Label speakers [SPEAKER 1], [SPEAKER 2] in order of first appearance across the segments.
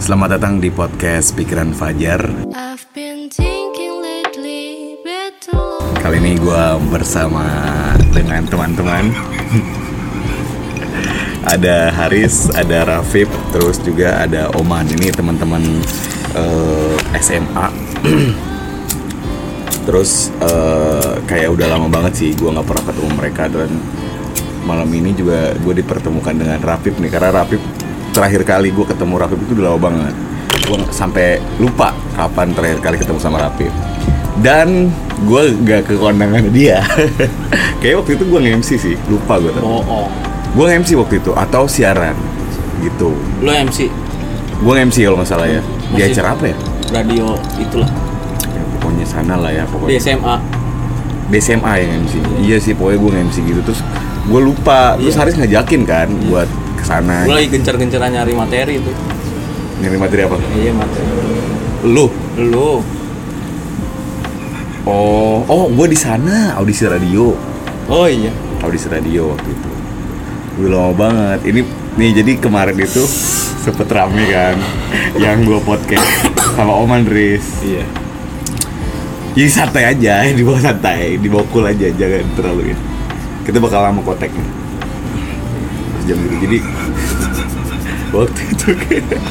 [SPEAKER 1] Selamat datang di podcast Pikiran Fajar.
[SPEAKER 2] I've been thinking lately, better love.
[SPEAKER 1] Kali ini gue bersama dengan teman-teman. ada Haris, ada Rafif, terus juga ada Oman. Ini teman-teman eh, SMA. terus eh, kayak udah lama banget sih gue nggak pernah ketemu mereka dan malam ini juga gue dipertemukan dengan Rafif nih karena Rafif terakhir kali gue ketemu Rafif itu udah lama banget gue sampai lupa kapan terakhir kali ketemu sama Rafif dan gue gak ke kondangan dia kayak waktu itu gue nge-MC sih lupa gue tuh
[SPEAKER 3] Bohong.
[SPEAKER 1] gue nge-MC waktu itu atau siaran gitu
[SPEAKER 3] Lo MC
[SPEAKER 1] gue nge-MC kalau nggak salah ya di
[SPEAKER 3] Masih.
[SPEAKER 1] acara apa ya?
[SPEAKER 3] radio itulah
[SPEAKER 1] ya pokoknya sana lah ya pokoknya
[SPEAKER 3] di SMA.
[SPEAKER 1] di SMA yang MC iya sih pokoknya gue nge-MC gitu terus gue lupa terus
[SPEAKER 3] Iya.
[SPEAKER 1] Haris ngajakin kan buat kesana
[SPEAKER 3] Gue lagi gencar-gencaran nyari materi itu.
[SPEAKER 1] nyari materi apa
[SPEAKER 3] Iya materi.
[SPEAKER 1] lu
[SPEAKER 3] Lo
[SPEAKER 1] oh oh gue di sana audisi radio
[SPEAKER 3] Oh iya.
[SPEAKER 1] audisi radio waktu itu udah lama banget ini nih jadi kemarin itu sempet rame kan yang gue podcast sama Oman Riz
[SPEAKER 3] Iya.
[SPEAKER 1] Jadi santai aja, di bawah santai, di bawah cool aja, jangan terlalu ya. Kita bakal lama kontaknya. Jam gitu. Jadi waktu itu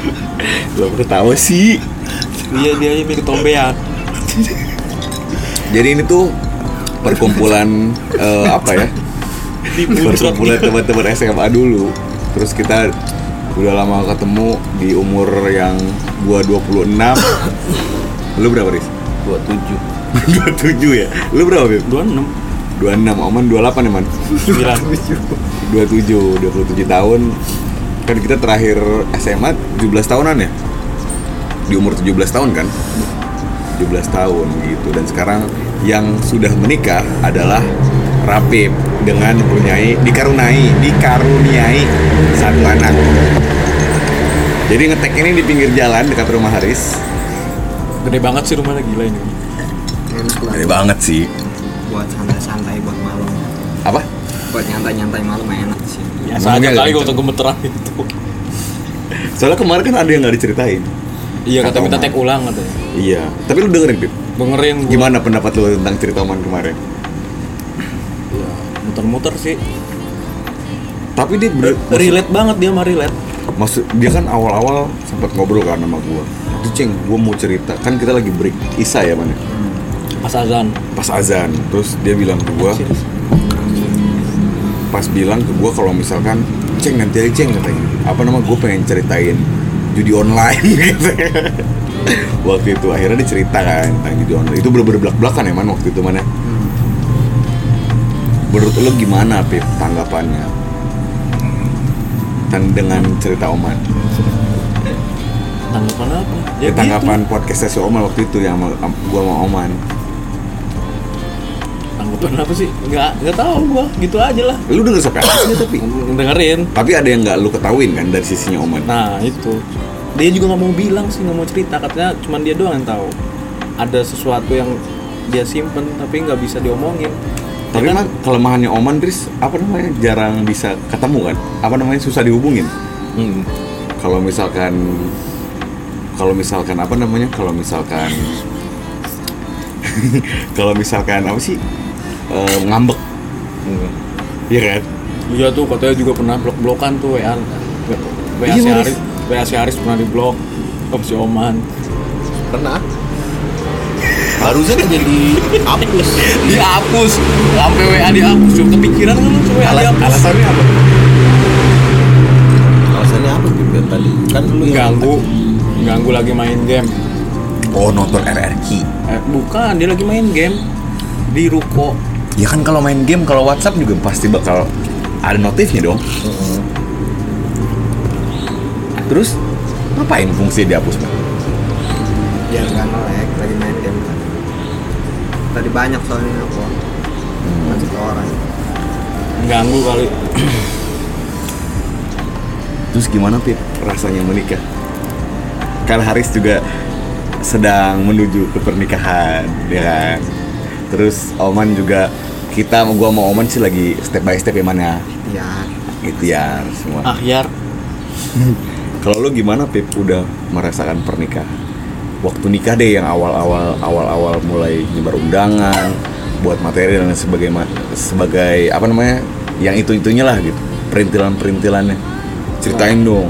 [SPEAKER 1] lo ketawa sih.
[SPEAKER 3] Dia Iya, dia ini ketombean.
[SPEAKER 1] Jadi ini tuh perkumpulan eh, apa ya? Perkumpulan teman-teman SMA dulu. Terus kita udah lama ketemu di umur yang gua 26. Lu berapa, Riz?
[SPEAKER 3] 27
[SPEAKER 1] 27 ya. Lu berapa, Bib?
[SPEAKER 3] 26
[SPEAKER 1] 26, Oman 28 ya, Man? 27,
[SPEAKER 3] 9
[SPEAKER 1] 27 tahun kan kita terakhir SMA 17 tahunan ya di umur 17 tahun kan 17 tahun gitu dan sekarang yang sudah menikah adalah Rapip dengan mempunyai dikaruniai dikaruniai satu anak jadi ngetek ini di pinggir jalan dekat rumah Haris
[SPEAKER 3] Gede banget sih rumahnya gila ini.
[SPEAKER 4] enak lah
[SPEAKER 1] gede banget sih
[SPEAKER 4] buat santai-santai buat malam
[SPEAKER 1] apa
[SPEAKER 4] buat nyantai-nyantai malam enak sih
[SPEAKER 3] Biasa aja
[SPEAKER 1] Ngomongnya
[SPEAKER 3] kali
[SPEAKER 1] agak
[SPEAKER 3] gue tuh gemeteran itu.
[SPEAKER 1] soalnya kemarin kan ada yang nggak diceritain
[SPEAKER 3] Iya kata
[SPEAKER 1] Kata
[SPEAKER 3] minta
[SPEAKER 1] Oman.
[SPEAKER 3] tag ulang katanya.
[SPEAKER 1] iya tapi lu dengerin Bib
[SPEAKER 3] Dengerin gua.
[SPEAKER 1] gimana pendapat lu tentang cerita Oman kemarin
[SPEAKER 3] Ya, muter-muter sih.
[SPEAKER 1] tapi dia bener,
[SPEAKER 3] Relate banget dia sama relate.
[SPEAKER 1] maksud dia kan awal-awal sempat ngobrol kan sama gua itu ceng gua mau cerita kan kita lagi break isa ya mana
[SPEAKER 3] Pas azan.
[SPEAKER 1] pas azan terus dia bilang ke gua pas bilang ke gua kalau misalkan ceng nanti aja ceng katanya apa nama gua pengen ceritain judi online gitu waktu itu akhirnya dia cerita kan tentang judi online itu bener-bener belak-belakan ya man waktu itu mana menurut lo gimana Pip tanggapannya dan dengan cerita Oman
[SPEAKER 3] Tanggapan apa?
[SPEAKER 1] ya,
[SPEAKER 3] gitu.
[SPEAKER 1] tanggapan podcastnya si Oman waktu itu yang sama- am- gua sama Oman
[SPEAKER 3] Tanggapan apa sih? Nggak, nggak tahu gua. Gitu aja lah.
[SPEAKER 1] lu denger sampai habis nggak tapi
[SPEAKER 3] Dengerin.
[SPEAKER 1] tapi ada yang nggak lu ketahuin kan dari sisinya Oman
[SPEAKER 3] Nah itu dia juga nggak mau bilang sih nggak mau cerita katanya cuman dia doang yang tahu ada sesuatu yang dia simpen tapi nggak bisa diomongin.
[SPEAKER 1] tapi
[SPEAKER 3] Ya
[SPEAKER 1] emang kelemahannya Oman Tris apa namanya jarang bisa ketemu kan apa namanya susah dihubungin
[SPEAKER 3] Hmm.
[SPEAKER 1] kalau misalkan kalau misalkan apa namanya kalau misalkan kalau misalkan apa sih Eh, ngambek
[SPEAKER 3] Hmm.
[SPEAKER 1] Iya kan
[SPEAKER 3] Iya tuh katanya juga pernah blok-blokan tuh WA WA
[SPEAKER 1] Iya,
[SPEAKER 3] si
[SPEAKER 1] Mas.
[SPEAKER 3] Haris WA si Haris pernah diblok sama si Oman.
[SPEAKER 5] Pernah. Barusan aja di hapus.
[SPEAKER 3] Dihapus, sampai WA dihapus. Cuma kepikiran kan lu tuh WA
[SPEAKER 5] Iya,
[SPEAKER 1] Alas-
[SPEAKER 3] dihapus.
[SPEAKER 1] alasannya apa
[SPEAKER 5] Alasannya apa gitu tadi? Kan lu yang
[SPEAKER 3] Ganggu, ganggu lagi main game.
[SPEAKER 1] oh nonton RRQ
[SPEAKER 3] Eh, bukan, dia lagi main game di ruko.
[SPEAKER 1] ya kan kalau main game kalau WhatsApp juga pasti bakal ada notifnya dong Terus ngapain fungsi dihapus Bang?
[SPEAKER 4] Biar
[SPEAKER 5] Iya kan?
[SPEAKER 4] nggak melek lagi main game kan. Tadi banyak soalnya aku.
[SPEAKER 5] Hmm.
[SPEAKER 4] Masih ke orang.
[SPEAKER 3] Ganggu kali.
[SPEAKER 1] Terus gimana Pit rasanya menikah? Kan Haris juga sedang menuju ke pernikahan, ya kan? Terus Oman juga kita gua mau Oman sih lagi step by step ya Man, ya
[SPEAKER 4] Ya,
[SPEAKER 5] Iya.
[SPEAKER 1] ikhtiar semua.
[SPEAKER 3] Akhir.
[SPEAKER 1] Kalau lu gimana Pip udah merasakan pernikahan? Waktu nikah deh yang awal-awal awal-awal mulai nyebar undangan, buat materi dan sebagai sebagai apa namanya? Yang itu-itunya lah gitu. Perintilan-perintilannya. Ceritain dong.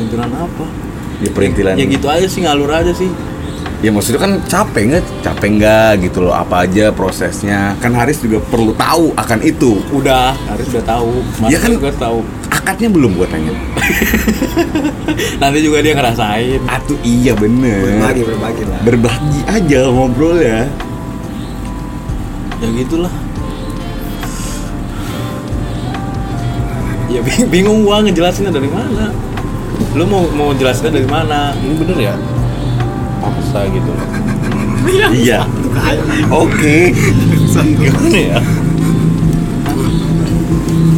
[SPEAKER 3] Lingkungan apa?
[SPEAKER 1] Ya perintilan.
[SPEAKER 3] Ya gitu aja sih ngalur aja sih.
[SPEAKER 1] Ya maksudnya kan capek nggak? Capek nggak gitu loh? Apa aja prosesnya? Kan Haris juga perlu tahu akan itu.
[SPEAKER 3] Udah, harus udah tahu. Mas
[SPEAKER 1] Ya kan?
[SPEAKER 3] juga tahu.
[SPEAKER 1] Akadnya belum gua tanya.
[SPEAKER 3] Nanti juga dia ngerasain.
[SPEAKER 1] Atuh iya bener.
[SPEAKER 4] berbagi berbagi lah.
[SPEAKER 1] Berbagi aja ngobrol ya.
[SPEAKER 3] Ya gitulah. Ya bing- bingung gua ngejelasinnya dari mana. Lu mau mau jelasinnya dari mana?
[SPEAKER 5] ini bener ya paksa gitu
[SPEAKER 1] Iya. Oke.
[SPEAKER 5] gimana ya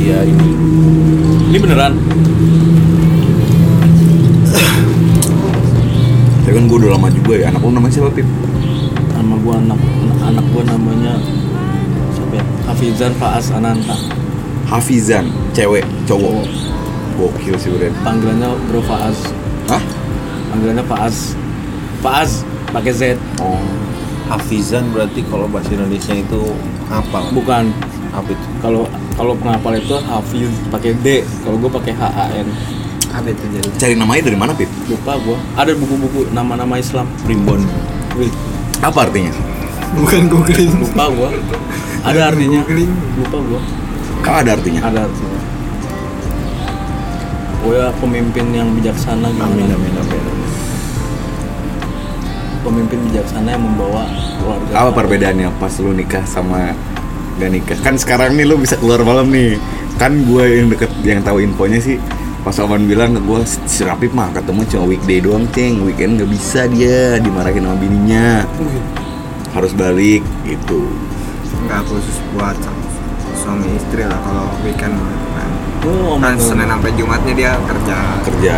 [SPEAKER 5] ya ini
[SPEAKER 3] Iya, Ini beneran.
[SPEAKER 1] Tapi kan gue udah lama juga ya. Anak lu namanya siapa, Pip?
[SPEAKER 3] Nama gua anak anak gua namanya siapa ya? Hafizan Faas Ananta.
[SPEAKER 1] Hafizan, cewek, cowok. Gokil sih, Bren.
[SPEAKER 3] Panggilannya Bro Faas.
[SPEAKER 1] Hah?
[SPEAKER 3] Panggilannya Faas. Faas pakai Z.
[SPEAKER 1] Oh.
[SPEAKER 5] hafizan berarti kalau bahasa Indonesia itu apa
[SPEAKER 3] Bukan
[SPEAKER 5] apa itu
[SPEAKER 3] kalau kalau penghafal itu Hafiz pakai D, kalau gua pakai H A N.
[SPEAKER 4] Apa itu jadi?
[SPEAKER 1] Cari namanya dari mana, Pip?
[SPEAKER 3] Lupa gua. Ada buku-buku nama-nama Islam.
[SPEAKER 5] primbon
[SPEAKER 3] Wih,
[SPEAKER 1] Apa artinya?
[SPEAKER 4] Bukan googling.
[SPEAKER 3] lupa gua. Ada artinya. Lupa gua.
[SPEAKER 1] Kau Kan ada artinya?
[SPEAKER 3] Ada artinya. Oh ya pemimpin yang bijaksana gimana?
[SPEAKER 5] amin amin amin amin.
[SPEAKER 3] Pemimpin bijaksana yang membawa keluarga.
[SPEAKER 1] Apa perbedaannya pas lu nikah sama gak nikah? Kan sekarang nih lu bisa keluar malam nih. Kan gue yang deket yang tahu infonya sih Pas Oman bilang ke gue, si Rapip mah ketemu cuma weekday doang, Ceng. Weekend gak bisa dia, dimarahin sama bininya. Harus balik, gitu.
[SPEAKER 4] Enggak khusus buat suami istri lah kalau weekend kan.
[SPEAKER 3] Oh,
[SPEAKER 4] Kan
[SPEAKER 3] omong
[SPEAKER 4] Senin sampai Jumatnya dia kerja
[SPEAKER 1] Kerja.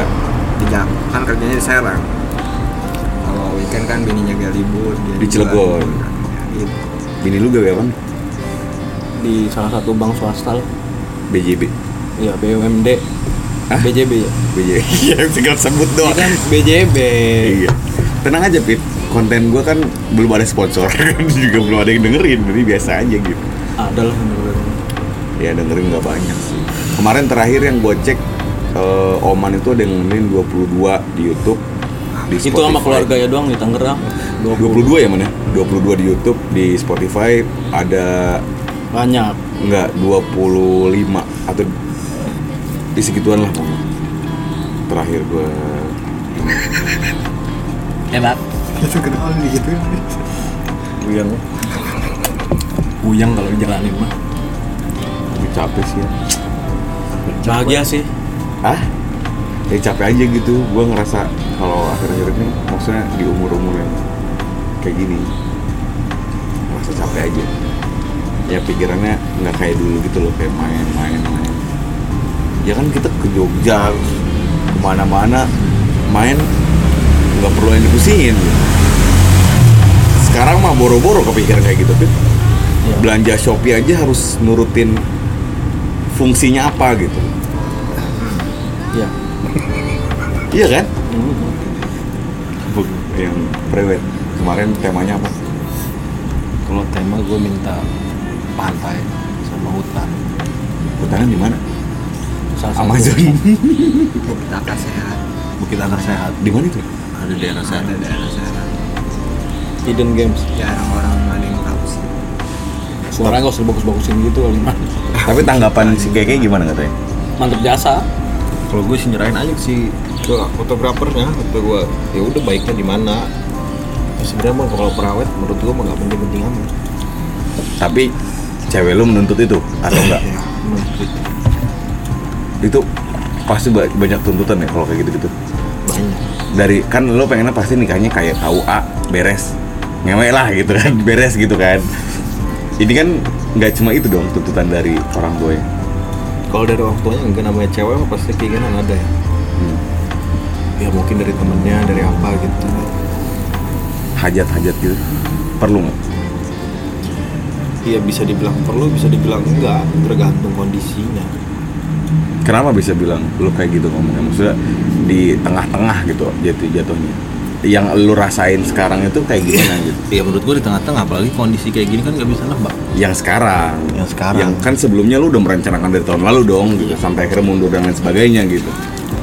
[SPEAKER 4] di Jak- kan kerjanya di Serang. Kalau weekend kan bininya gak libur dia
[SPEAKER 1] Di Cilegon.
[SPEAKER 4] Kan, ya gitu.
[SPEAKER 1] Bini lu gawe apa?
[SPEAKER 3] di salah satu bank swasta lah.
[SPEAKER 1] BJB.
[SPEAKER 3] Ya BUMD.
[SPEAKER 1] Hah?
[SPEAKER 3] BJB ya.
[SPEAKER 1] BJB. Iya, tinggal sebut
[SPEAKER 3] Ini
[SPEAKER 5] Oh.
[SPEAKER 1] doang.
[SPEAKER 3] kan BJB.
[SPEAKER 1] Iya. Tenang aja, Pip. Konten gue kan belum ada sponsor, Kan juga belum ada yang dengerin, jadi biasa aja gitu.
[SPEAKER 3] Ada lah yang bener-bener.
[SPEAKER 1] Ya dengerin nggak banyak sih. Kemarin terakhir yang gue cek eh, Oman itu ada yang nemenin 22 di YouTube. Di
[SPEAKER 3] Itu sama
[SPEAKER 1] Spotify.
[SPEAKER 3] keluarga ya doang di Tangerang. 20.
[SPEAKER 1] 22 ya mana? 22 di YouTube, di Spotify ada
[SPEAKER 3] Banyak.
[SPEAKER 1] enggak 25 atau di segituan lah pokoknya. Terakhir gue
[SPEAKER 3] Enak.
[SPEAKER 4] Itu kenapa gitu?
[SPEAKER 3] Uyang. Uyang kalau dijalanin mah.
[SPEAKER 1] Gue capek sih ya
[SPEAKER 3] Bahagia sih.
[SPEAKER 1] Hah? Ya capek aja gitu Gue ngerasa kalau akhir-akhir ini Maksudnya di umur-umur yang kayak gini Ngerasa capek aja Ya pikirannya nggak kayak dulu gitu loh Kayak main-main main Ya kan kita ke Jogja Kemana-mana Main nggak perlu yang dipusingin Sekarang mah boro-boro kepikiran kayak gitu Pip. Belanja Shopee aja harus nurutin fungsinya apa gitu
[SPEAKER 3] Iya.
[SPEAKER 1] Iya kan?
[SPEAKER 5] Hmm.
[SPEAKER 1] Buk- Yang prewed kemarin temanya apa?
[SPEAKER 5] kalau tema gue minta pantai sama hutan
[SPEAKER 1] Hutangan di mana?
[SPEAKER 3] Salah satu.
[SPEAKER 1] Amazon.
[SPEAKER 4] Kita kasih sehat.
[SPEAKER 5] bukit anak sehat
[SPEAKER 1] di mana itu?
[SPEAKER 5] ada daerah
[SPEAKER 4] Ada daerah Serang.
[SPEAKER 3] Hidden Games.
[SPEAKER 4] Jarang orang ada yang tahu sih.
[SPEAKER 3] Suaranya gak usah bagus-bagusin gitu kali mah.
[SPEAKER 1] Tapi tanggapan si Keke gimana katanya?
[SPEAKER 3] Mantap jasa.
[SPEAKER 5] kalau gue sih nyerahin aja sih ke fotografernya kata gue ya udah baiknya di mana Ya sebenarnya mah kalau perawat menurut gue mah nggak penting-penting amat
[SPEAKER 1] Tapi
[SPEAKER 5] Iya,
[SPEAKER 1] cewek lu menuntut itu atau enggak?
[SPEAKER 5] Menurut gue.
[SPEAKER 1] itu pasti ba- banyak tuntutan ya kalau kayak gitu-gitu.
[SPEAKER 5] banyak
[SPEAKER 1] Dari kan lo pengennya pasti nikahnya kayak KUA beres, ngewe lah gitu kan, beres gitu kan. Ini kan nggak cuma itu dong tuntutan dari orang tua ya.
[SPEAKER 5] kalau dari orang tuanya enggak namanya cewek mah pasti keinginan ada ya
[SPEAKER 4] Hmm.
[SPEAKER 5] ya mungkin dari temennya dari apa gitu
[SPEAKER 1] Hajat-hajat gitu. Perlu nggak?
[SPEAKER 5] ya bisa dibilang perlu bisa dibilang enggak tergantung kondisinya
[SPEAKER 1] Kenapa bisa bilang lo kayak gitu ngomongnya? Maksudnya di tengah-tengah gitu jatuh jatuhnya. Yang lo rasain sekarang itu kayak gimana gitu?
[SPEAKER 5] ya menurut gue di tengah-tengah apalagi kondisi kayak gini kan nggak bisa nebak
[SPEAKER 1] Yang sekarang.
[SPEAKER 5] Yang sekarang.
[SPEAKER 1] Yang kan sebelumnya lo udah merencanakan dari tahun lalu dong gitu sampai akhirnya mundur dan lain sebagainya gitu.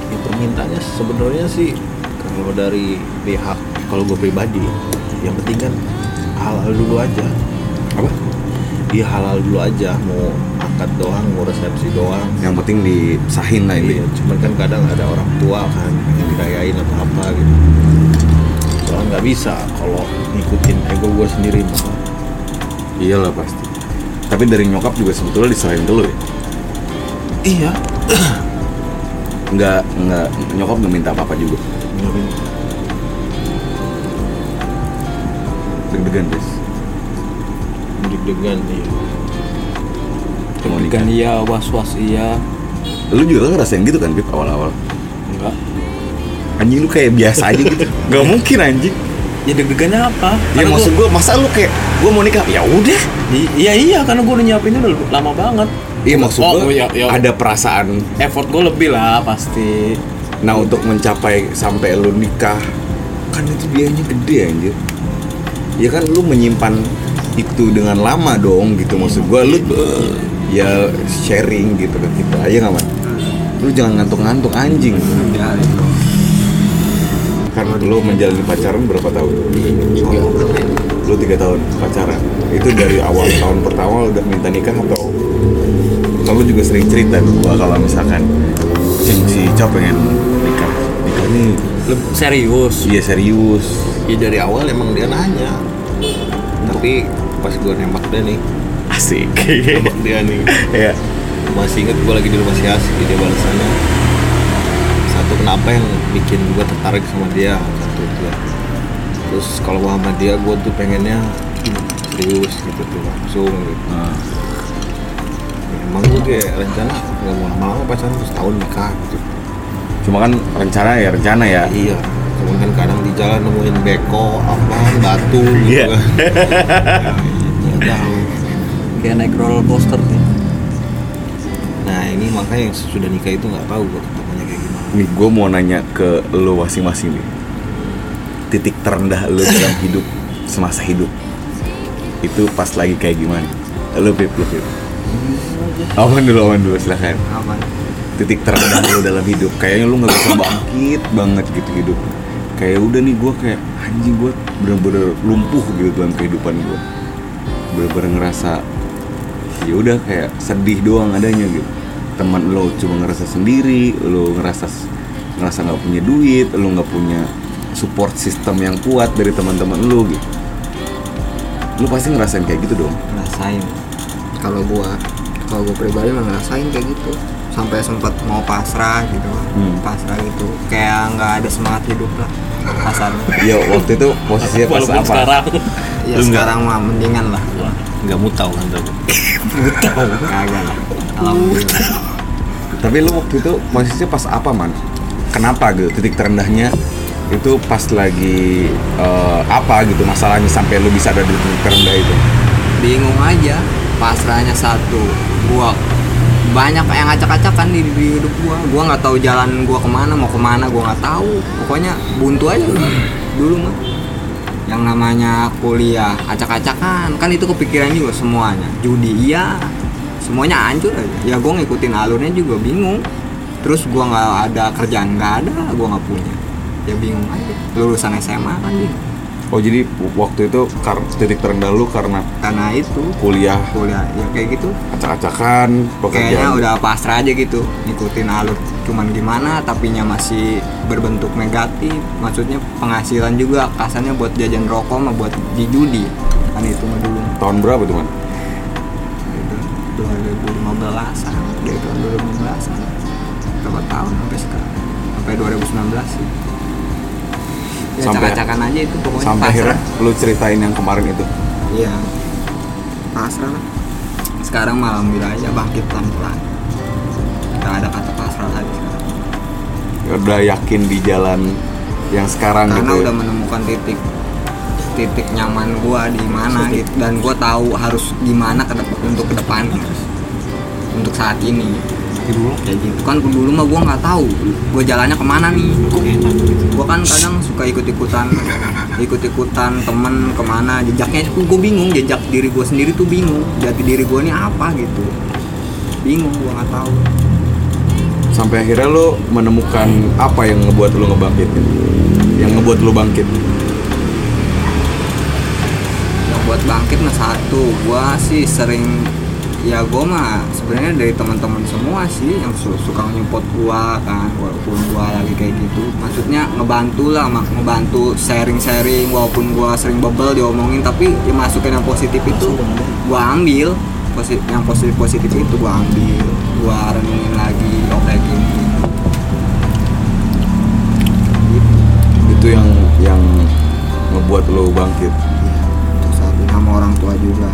[SPEAKER 5] ya permintaannya sebenarnya sih kalau dari pihak kalau gue pribadi yang penting kan halal dulu aja
[SPEAKER 1] Apa?
[SPEAKER 5] dia halal dulu aja mau akad doang mau resepsi doang
[SPEAKER 1] yang penting disahin lah ini
[SPEAKER 5] Iya, cuman kan kadang ada orang tua kan pengen dirayain atau apa gitu soalnya nggak bisa kalau ngikutin ego gue sendiri mah
[SPEAKER 1] iyalah Iya pasti tapi dari nyokap juga sebetulnya diserahin dulu ya
[SPEAKER 5] iya
[SPEAKER 1] nggak nggak nyokap nggak minta apa apa juga deg-degan guys
[SPEAKER 5] deg-degan iya
[SPEAKER 1] mau nikah
[SPEAKER 3] Kan iya, was-was iya.
[SPEAKER 1] lu juga ngerasain gitu kan Pip awal-awal
[SPEAKER 3] Enggak.
[SPEAKER 1] anjing lu kayak biasa aja gitu nggak mungkin anjing
[SPEAKER 3] Ya deg-degannya apa?
[SPEAKER 1] ya
[SPEAKER 3] Karena
[SPEAKER 1] maksud gua masa lu kayak gua mau nikah ya udah
[SPEAKER 3] gua- I- Iya iya, karena gue udah nyiapinnya udah lama banget.
[SPEAKER 1] iya maksud
[SPEAKER 3] Oh,
[SPEAKER 1] gua
[SPEAKER 3] iya, iya.
[SPEAKER 1] ada perasaan
[SPEAKER 3] Effort gue lebih lah pasti.
[SPEAKER 1] nah untuk mencapai sampai lu nikah kan itu biayanya gede anjir ya kan lu menyimpan itu dengan lama dong gitu maksud gua lu ya sharing gitu ke kita aja nggak man lu jangan ngantuk-ngantuk anjing
[SPEAKER 4] ya itu
[SPEAKER 1] kan lu menjalani pacaran berapa tahun lu tiga tahun pacaran itu dari awal tahun pertama udah minta nikah atau kalau juga sering cerita ke gua kalau misalkan "Cing, si Ica pengen nikah nikah nih
[SPEAKER 3] Leb- serius.
[SPEAKER 1] iya serius
[SPEAKER 5] ya dari awal emang dia nanya Ya. tapi pas gue nembak dia nih
[SPEAKER 1] asik
[SPEAKER 5] nembak dia nih
[SPEAKER 1] ya
[SPEAKER 5] masih inget gue lagi di rumah si Asih di dia balasannya satu kenapa yang bikin gue tertarik sama dia satu itu ya. terus kalau gua sama dia gue tuh pengennya serius gitu tuh langsung gitu.
[SPEAKER 1] Ah.
[SPEAKER 5] Ya, emang gue kayak rencana nggak mau lama-lama pacaran terus tahun nikah gitu
[SPEAKER 1] cuma kan rencana ya rencana ya
[SPEAKER 5] iya cuman kan kadang di jalan nemuin beko apa batu gitu
[SPEAKER 1] Iya.
[SPEAKER 5] kan Ya, nggak tahu
[SPEAKER 3] Kayak naik roller coaster nih.
[SPEAKER 5] nah ini makanya yang sudah nikah itu nggak tahu gue ketemunya kayak gimana
[SPEAKER 1] nih gue mau nanya ke lo masing-masing nih titik terendah lo dalam hidup semasa hidup itu pas lagi kayak gimana lo pip lo pip aman dulu aman dulu silahkan
[SPEAKER 4] aman
[SPEAKER 1] titik terendah lo dalam hidup kayaknya lo nggak bisa bangkit banget gitu hidup kayak udah nih gue kayak anjing gue bener-bener lumpuh gitu dalam kehidupan gue bener-bener ngerasa ya udah kayak sedih doang adanya gitu teman lo cuma ngerasa sendiri lo ngerasa ngerasa nggak punya duit lo nggak punya support system yang kuat dari teman-teman lo gitu lo pasti ngerasain kayak gitu dong
[SPEAKER 5] rasain
[SPEAKER 4] kalau gua kalau gua pribadi mah ngerasain kayak gitu sampai sempat mau pasrah gitu kan.
[SPEAKER 1] Hmm.
[SPEAKER 4] pasrah gitu kayak nggak ada semangat hidup lah kasarnya
[SPEAKER 1] ya waktu itu posisinya pas
[SPEAKER 3] Walaupun
[SPEAKER 1] apa
[SPEAKER 3] sekarang
[SPEAKER 4] ya
[SPEAKER 1] Lu nggak-
[SPEAKER 4] sekarang mah mendingan lah
[SPEAKER 5] nggak mutau kan tapi
[SPEAKER 4] kagak lah alhamdulillah
[SPEAKER 1] Tapi lu waktu itu posisinya pas apa, Man? Kenapa gitu? Titik terendahnya itu pas lagi eh, apa gitu masalahnya sampai lu bisa ada di titik terendah itu?
[SPEAKER 4] bingung aja pasrahnya satu gua banyak yang acak-acakan di, di hidup gua gua nggak tahu jalan gua kemana mau kemana gua nggak tahu pokoknya buntu aja dulu, dulu mah yang namanya kuliah acak-acakan kan itu kepikiran juga semuanya judi iya semuanya hancur aja ya gua ngikutin alurnya juga bingung terus gua nggak ada kerjaan nggak ada gua nggak punya ya bingung aja lulusan SMA kan bingung.
[SPEAKER 1] Oh jadi waktu itu kar titik terendah lu karena
[SPEAKER 4] karena itu
[SPEAKER 1] kuliah
[SPEAKER 4] kuliah ya kayak gitu
[SPEAKER 1] acak-acakan
[SPEAKER 4] kayaknya
[SPEAKER 1] pekerjaan
[SPEAKER 4] udah pasrah aja gitu ngikutin alur cuman gimana tapinya masih berbentuk negatif maksudnya penghasilan juga kasarnya buat jajan rokok sama buat di judi kan itu mah dulu gitu.
[SPEAKER 1] tahun berapa tuh man?
[SPEAKER 4] ah, itu 2015 an dari tahun 2015 an kan. berapa tahun sampai sekarang sampai 2019 sih ya,
[SPEAKER 1] Sampai-
[SPEAKER 4] acak-acakan aja itu pokoknya
[SPEAKER 1] sampai akhirnya
[SPEAKER 4] pasrah
[SPEAKER 1] lu ceritain yang kemarin itu
[SPEAKER 4] iya pasrah lah sekarang malam alhamdulillah aja bangkit pelan-pelan kita ada kata pasrah lagi sekarang
[SPEAKER 1] udah yakin di jalan yang sekarang
[SPEAKER 4] karena
[SPEAKER 1] gitu ya?
[SPEAKER 4] udah menemukan titik titik nyaman gua di mana gitu dan gua tahu harus gimana ke dep- untuk kedepannya untuk saat ini dulu kayak gitu kan dulu mah gua nggak tahu gua jalannya kemana nih gua kan kadang suka ikut ikutan ikut ikutan temen kemana jejaknya gua gua bingung jejak diri gua sendiri tuh bingung jati diri gua ini apa gitu bingung gua nggak tahu
[SPEAKER 1] sampai akhirnya lu menemukan apa yang ngebuat lu ngebangkit yang ngebuat lu bangkit
[SPEAKER 4] yang buat bangkit mah satu gua sih sering ya gua mah sebenarnya dari teman-teman semua sih yang su- suka nyupport gua kan walaupun gua lagi kayak gitu maksudnya ngebantu lah mak ngebantu sharing-sharing walaupun gua sering bebel diomongin tapi ya masukin yang positif itu gua ambil Posi- yang positif positif itu gua ambil gua renungin lagi oh kayak gini gitu
[SPEAKER 1] itu yang yang ngebuat lu bangkit
[SPEAKER 4] terus satu sama orang tua juga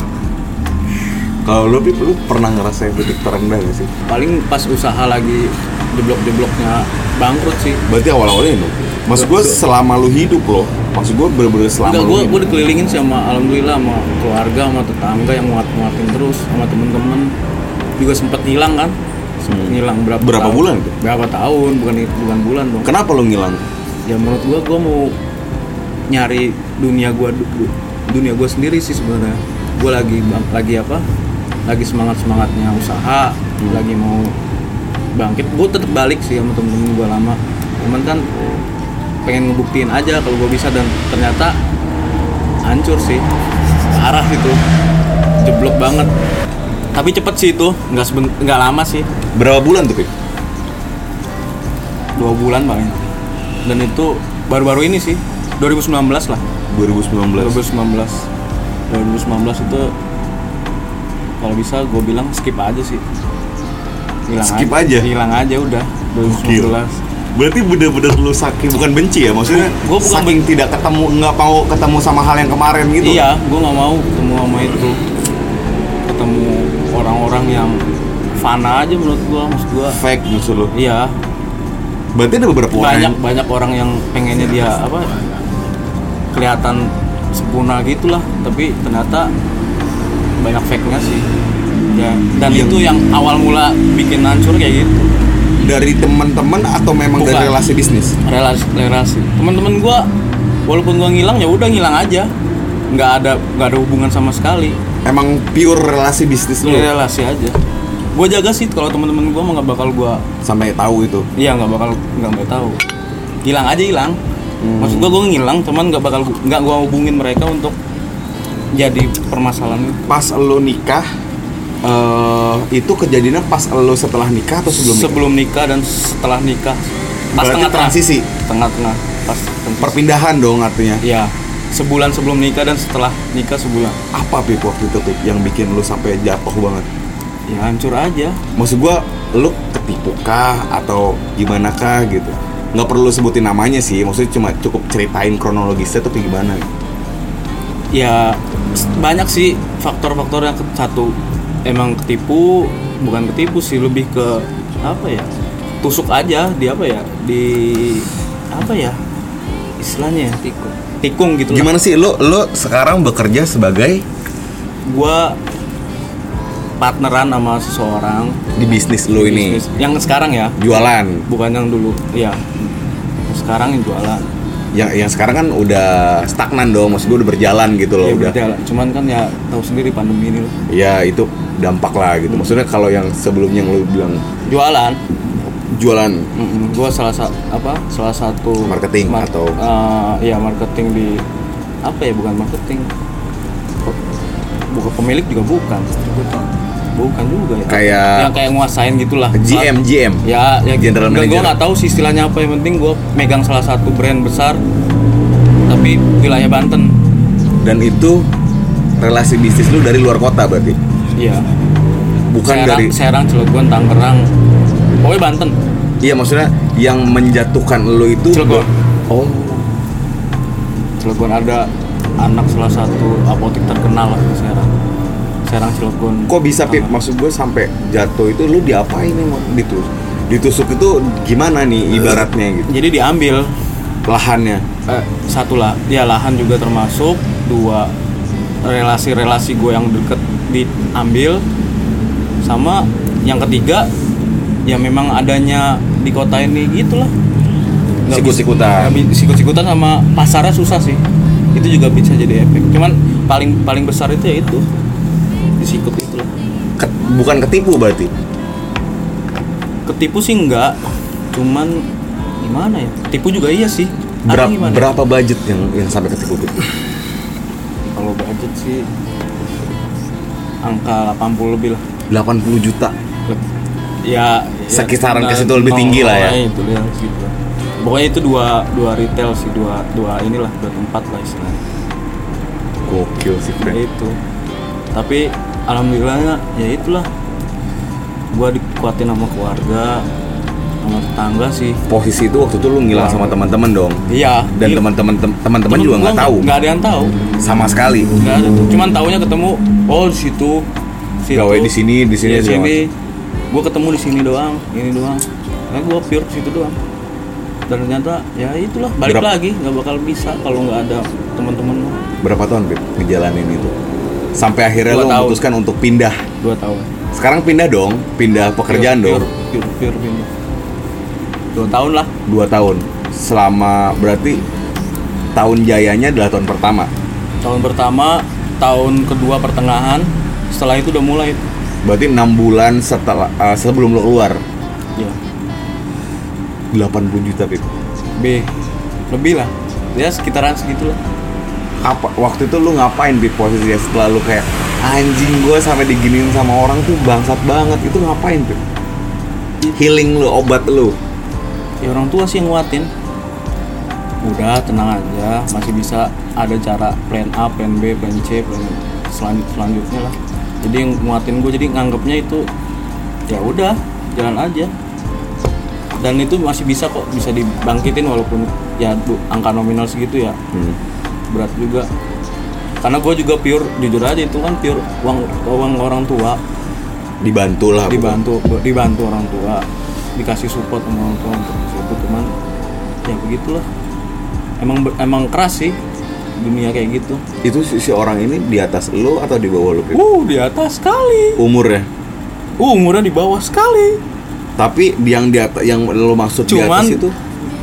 [SPEAKER 1] kalau lu Pip, lu pernah ngerasain titik terendah gak sih
[SPEAKER 3] paling pas usaha lagi jeblok-jebloknya bangkrut sih
[SPEAKER 1] berarti awal-awalnya itu maksud gue selama lu hidup loh maksud gue bener-bener selama lu
[SPEAKER 3] Enggak,
[SPEAKER 1] ya?
[SPEAKER 3] gue
[SPEAKER 1] hidup.
[SPEAKER 3] gue dikelilingin sama alhamdulillah sama keluarga, sama tetangga yang nguat-nguatin terus, sama temen-temen juga sempet hilang kan, sempet
[SPEAKER 1] Hmm.
[SPEAKER 3] hilang berapa
[SPEAKER 1] Berapa
[SPEAKER 3] tahun.
[SPEAKER 1] bulan tuh?
[SPEAKER 3] Berapa tahun? Bukan bukan bulan dong.
[SPEAKER 1] kenapa lu ngilang
[SPEAKER 3] Ya menurut gue gue mau nyari dunia gue dunia gue sendiri sih sebenarnya. Gue lagi bang- lagi apa? Lagi semangat semangatnya usaha, lagi mau bangkit. Gue tetap balik sih sama temen-temen gue lama. Cuman kan pengen ngebuktiin aja kalau gue bisa dan ternyata hancur sih parah itu jeblok banget tapi cepet sih itu nggak seben- nggak lama sih
[SPEAKER 1] berapa bulan tuh Pip?
[SPEAKER 3] dua bulan paling dan itu baru-baru ini sih 2019 lah
[SPEAKER 1] 2019
[SPEAKER 3] 2019 2019 itu kalau bisa gue bilang skip aja sih hilang
[SPEAKER 1] Skip aja?
[SPEAKER 3] hilang aja udah 2019
[SPEAKER 1] Gokil. berarti bener-bener lu saking bukan benci ya maksudnya
[SPEAKER 3] Gua- gua bukan
[SPEAKER 1] saking tidak ketemu nggak mau ketemu sama hal yang kemarin gitu
[SPEAKER 3] Iya, gue nggak mau ketemu sama itu. Ketemu orang-orang yang fana aja menurut gue, maksud gue.
[SPEAKER 1] fake maksud lu
[SPEAKER 3] Iya,
[SPEAKER 1] berarti ada beberapa orang
[SPEAKER 3] banyak
[SPEAKER 1] yang-
[SPEAKER 3] banyak orang yang pengennya dia apa kelihatan sempurna gitulah, tapi ternyata banyak fake-nya sih. Ya, dan
[SPEAKER 1] Yang-
[SPEAKER 3] itu yang awal mula bikin hancur kayak gitu.
[SPEAKER 1] dari teman-teman atau memang dari
[SPEAKER 3] Bukan.
[SPEAKER 1] relasi bisnis
[SPEAKER 3] relasi relasi teman-teman gue walaupun gue ngilang ya udah ngilang aja nggak ada nggak ada hubungan sama sekali
[SPEAKER 1] emang pure relasi bisnis lu ya?
[SPEAKER 3] Ini relasi aja gue jaga sih kalau teman-teman gue mau nggak bakal gue
[SPEAKER 1] sampai tahu itu
[SPEAKER 3] iya nggak bakal nggak mau tahu hilang aja hilang
[SPEAKER 1] Hmm.
[SPEAKER 3] maksud gue gue ngilang cuman nggak bakal gua- nggak gue hubungin mereka untuk jadi permasalahan
[SPEAKER 1] pas lo nikah eh, itu kejadiannya pas lo setelah nikah atau sebelum nikah?
[SPEAKER 3] sebelum nikah dan setelah nikah pas
[SPEAKER 1] Berarti
[SPEAKER 3] tengah-tengah.
[SPEAKER 1] transisi.
[SPEAKER 3] tengah-tengah pas transisi.
[SPEAKER 1] perpindahan dong artinya
[SPEAKER 3] iya sebulan sebelum nikah dan setelah nikah sebulan
[SPEAKER 1] apa Pip waktu itu Pip yang bikin lo sampai jatuh banget
[SPEAKER 3] ya hancur aja
[SPEAKER 1] maksud gua lo ketipu kah atau gimana kah gitu nggak perlu sebutin namanya sih maksudnya cuma cukup ceritain kronologisnya tapi gimana
[SPEAKER 3] ya s- banyak sih faktor-faktor yang ke- satu emang ketipu bukan ketipu sih lebih ke apa ya tusuk aja di apa ya di apa ya istilahnya ya? tikung tikung gitu lah.
[SPEAKER 1] gimana sih lo lo sekarang bekerja sebagai
[SPEAKER 3] gua partneran sama seseorang
[SPEAKER 1] di bisnis lo ini
[SPEAKER 3] bisnis. yang sekarang ya
[SPEAKER 1] jualan
[SPEAKER 3] bukan yang dulu ya Yang sekarang yang jualan
[SPEAKER 1] yang yang sekarang kan udah stagnan dong maksud gua udah berjalan gitu loh
[SPEAKER 3] ya
[SPEAKER 1] udah
[SPEAKER 3] berjalan. cuman kan ya tahu sendiri pandemi ini loh.
[SPEAKER 1] ya itu dampak lah gitu maksudnya kalau yang sebelumnya yang lu bilang
[SPEAKER 3] jualan
[SPEAKER 1] jualan
[SPEAKER 3] Mm-mm. gua salah satu apa salah satu
[SPEAKER 1] Marketing atau-
[SPEAKER 3] eh, ya marketing di apa ya bukan marketing Pe- bukan pemilik juga bukan bukan juga ya
[SPEAKER 1] Kayak-
[SPEAKER 3] yang kayak nguasain gitulah
[SPEAKER 1] GM GM
[SPEAKER 3] ya ya
[SPEAKER 1] General
[SPEAKER 3] gue
[SPEAKER 1] Manager.
[SPEAKER 3] nggak tahu sih istilahnya apa yang penting gue megang salah satu brand besar tapi wilayah Banten
[SPEAKER 1] dan itu relasi bisnis lu dari luar kota berarti
[SPEAKER 3] iya
[SPEAKER 1] bukan
[SPEAKER 3] Serang,
[SPEAKER 1] dari
[SPEAKER 3] Serang Cilegon Tangerang pokoknya Banten
[SPEAKER 1] Iya maksudnya yang menjatuhkan lo itu
[SPEAKER 3] Cilegon.
[SPEAKER 1] Oh
[SPEAKER 3] Cilegon ada anak salah satu apotek terkenal lah di Serang. Serang Cilegon.
[SPEAKER 1] Kok bisa Pip? Maksud gue sampai jatuh itu lu diapain emang? Ditus ditusuk itu gimana nih ibaratnya gitu
[SPEAKER 3] Jadi diambil
[SPEAKER 1] lahannya
[SPEAKER 3] eh, satu lah, ya lahan juga termasuk dua relasi-relasi gue yang deket diambil sama yang ketiga ya memang adanya di kota ini gitulah Nggak bisa-
[SPEAKER 1] Sikut-sikutan.
[SPEAKER 3] nggak bi- sikut-sikutan sama pasarnya susah sih itu juga bisa jadi efek cuman paling paling besar itu ya itu disikut itu lah
[SPEAKER 1] Ke- bukan ketipu berarti
[SPEAKER 3] ketipu sih enggak cuman gimana ya ketipu juga iya sih
[SPEAKER 1] Berap-
[SPEAKER 3] Artinya gimana?
[SPEAKER 1] berapa budget yang yang sampai ketipu Pip?
[SPEAKER 3] kalau budget sih angka 80 lebih lah
[SPEAKER 1] 80 juta
[SPEAKER 3] Leb- ya
[SPEAKER 1] Sekisaran
[SPEAKER 3] ya,
[SPEAKER 1] ke situ lebih
[SPEAKER 3] nol-
[SPEAKER 1] tinggi lah ya.
[SPEAKER 3] nolnya itu dia, segitu. pokoknya itu dua dua retail sih dua dua inilah dua tempat lah istilahnya
[SPEAKER 1] gokil sih
[SPEAKER 3] Ya
[SPEAKER 1] friend
[SPEAKER 3] itu tapi alhamdulillahnya ya itulah gua dikuatin sama keluarga sama tetangga sih
[SPEAKER 1] posisi itu waktu itu lu ngilang sama teman-teman dong
[SPEAKER 3] iya
[SPEAKER 1] dan
[SPEAKER 3] di-
[SPEAKER 1] teman-teman tem- teman-teman
[SPEAKER 3] temen
[SPEAKER 1] juga
[SPEAKER 3] gua
[SPEAKER 1] nggak tahu
[SPEAKER 3] nggak ada yang tahu
[SPEAKER 1] sama sekali
[SPEAKER 3] nggak ada tuh cuman taunya ketemu oh di situ situ.
[SPEAKER 1] Gawe di sini, di sini,
[SPEAKER 3] Iya,
[SPEAKER 1] segala
[SPEAKER 3] sini gue ketemu di sini doang ini doang nah gue pure di situ doang dan ternyata ya itulah balik
[SPEAKER 1] Berapa-
[SPEAKER 3] lagi nggak bakal bisa kalau nggak ada teman-teman lo.
[SPEAKER 1] berapa tahun Beb ngejalanin itu sampai akhirnya
[SPEAKER 3] Dua
[SPEAKER 1] lu
[SPEAKER 3] tahun.
[SPEAKER 1] memutuskan untuk pindah
[SPEAKER 3] dua tahun
[SPEAKER 1] sekarang pindah dong
[SPEAKER 3] Iya,
[SPEAKER 1] pindah pekerjaan
[SPEAKER 3] Pure-
[SPEAKER 1] dong
[SPEAKER 3] pure, pure, pure pindah. dua tahun lah
[SPEAKER 1] dua tahun selama berarti tahun jayanya adalah tahun pertama
[SPEAKER 3] tahun pertama tahun kedua pertengahan setelah itu udah mulai
[SPEAKER 1] berarti enam bulan setelah eh, sebelum lo keluar
[SPEAKER 3] ya
[SPEAKER 1] 80 juta Beb
[SPEAKER 3] B lebih lah ya sekitaran segitulah
[SPEAKER 1] apa waktu itu lu ngapain di posisinya setelah lu kayak anjing gue sampai diginiin sama orang tuh bangsat banget itu ngapain tuh healing lu obat lu
[SPEAKER 3] ya orang tua sih yang nguatin udah tenang aja masih bisa ada cara plan A plan B plan C plan selan- selanjutnya lah jadi yang nguatin gue jadi nganggapnya itu ya udah jalan aja dan itu masih bisa kok bisa dibangkitin walaupun ya bu- angka nominal segitu ya berat juga karena gue juga pure jujur aja itu kan pure uang uang orang tua
[SPEAKER 1] dibantu lah
[SPEAKER 3] dibantu dibantu orang tua dikasih support sama orang tua untuk itu cuman ya begitulah emang emang keras sih dunia kayak gitu
[SPEAKER 1] itu si, si orang ini di atas lu atau di bawah lu Pip?
[SPEAKER 3] uh di atas sekali
[SPEAKER 1] umurnya
[SPEAKER 3] uh umurnya di bawah sekali
[SPEAKER 1] tapi yang di atas yang lu maksud
[SPEAKER 3] cuman
[SPEAKER 1] di atas itu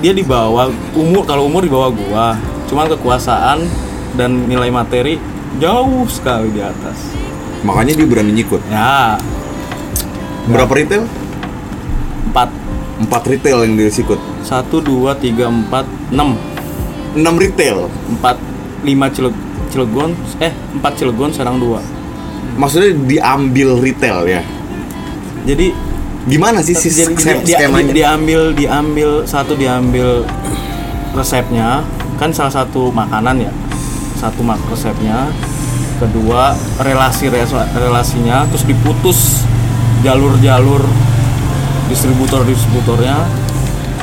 [SPEAKER 3] dia di bawah umur kalau umur di bawah gua cuman kekuasaan dan nilai materi jauh sekali di atas
[SPEAKER 1] makanya dia berani nyikut
[SPEAKER 3] ya
[SPEAKER 1] berapa retail
[SPEAKER 3] empat
[SPEAKER 1] empat retail yang dia sikut
[SPEAKER 3] satu dua tiga empat enam
[SPEAKER 1] enam retail
[SPEAKER 3] empat lima Cileg- Cilegon eh empat Cilegon Serang dua
[SPEAKER 1] maksudnya diambil retail ya
[SPEAKER 3] jadi
[SPEAKER 1] gimana sih si
[SPEAKER 3] jadi-
[SPEAKER 1] skem-
[SPEAKER 3] dia-
[SPEAKER 1] skemanya
[SPEAKER 3] dia- diambil diambil satu diambil resepnya kan salah satu makanan ya satu mak resepnya kedua relasi res- relasinya terus diputus jalur-jalur distributor distributornya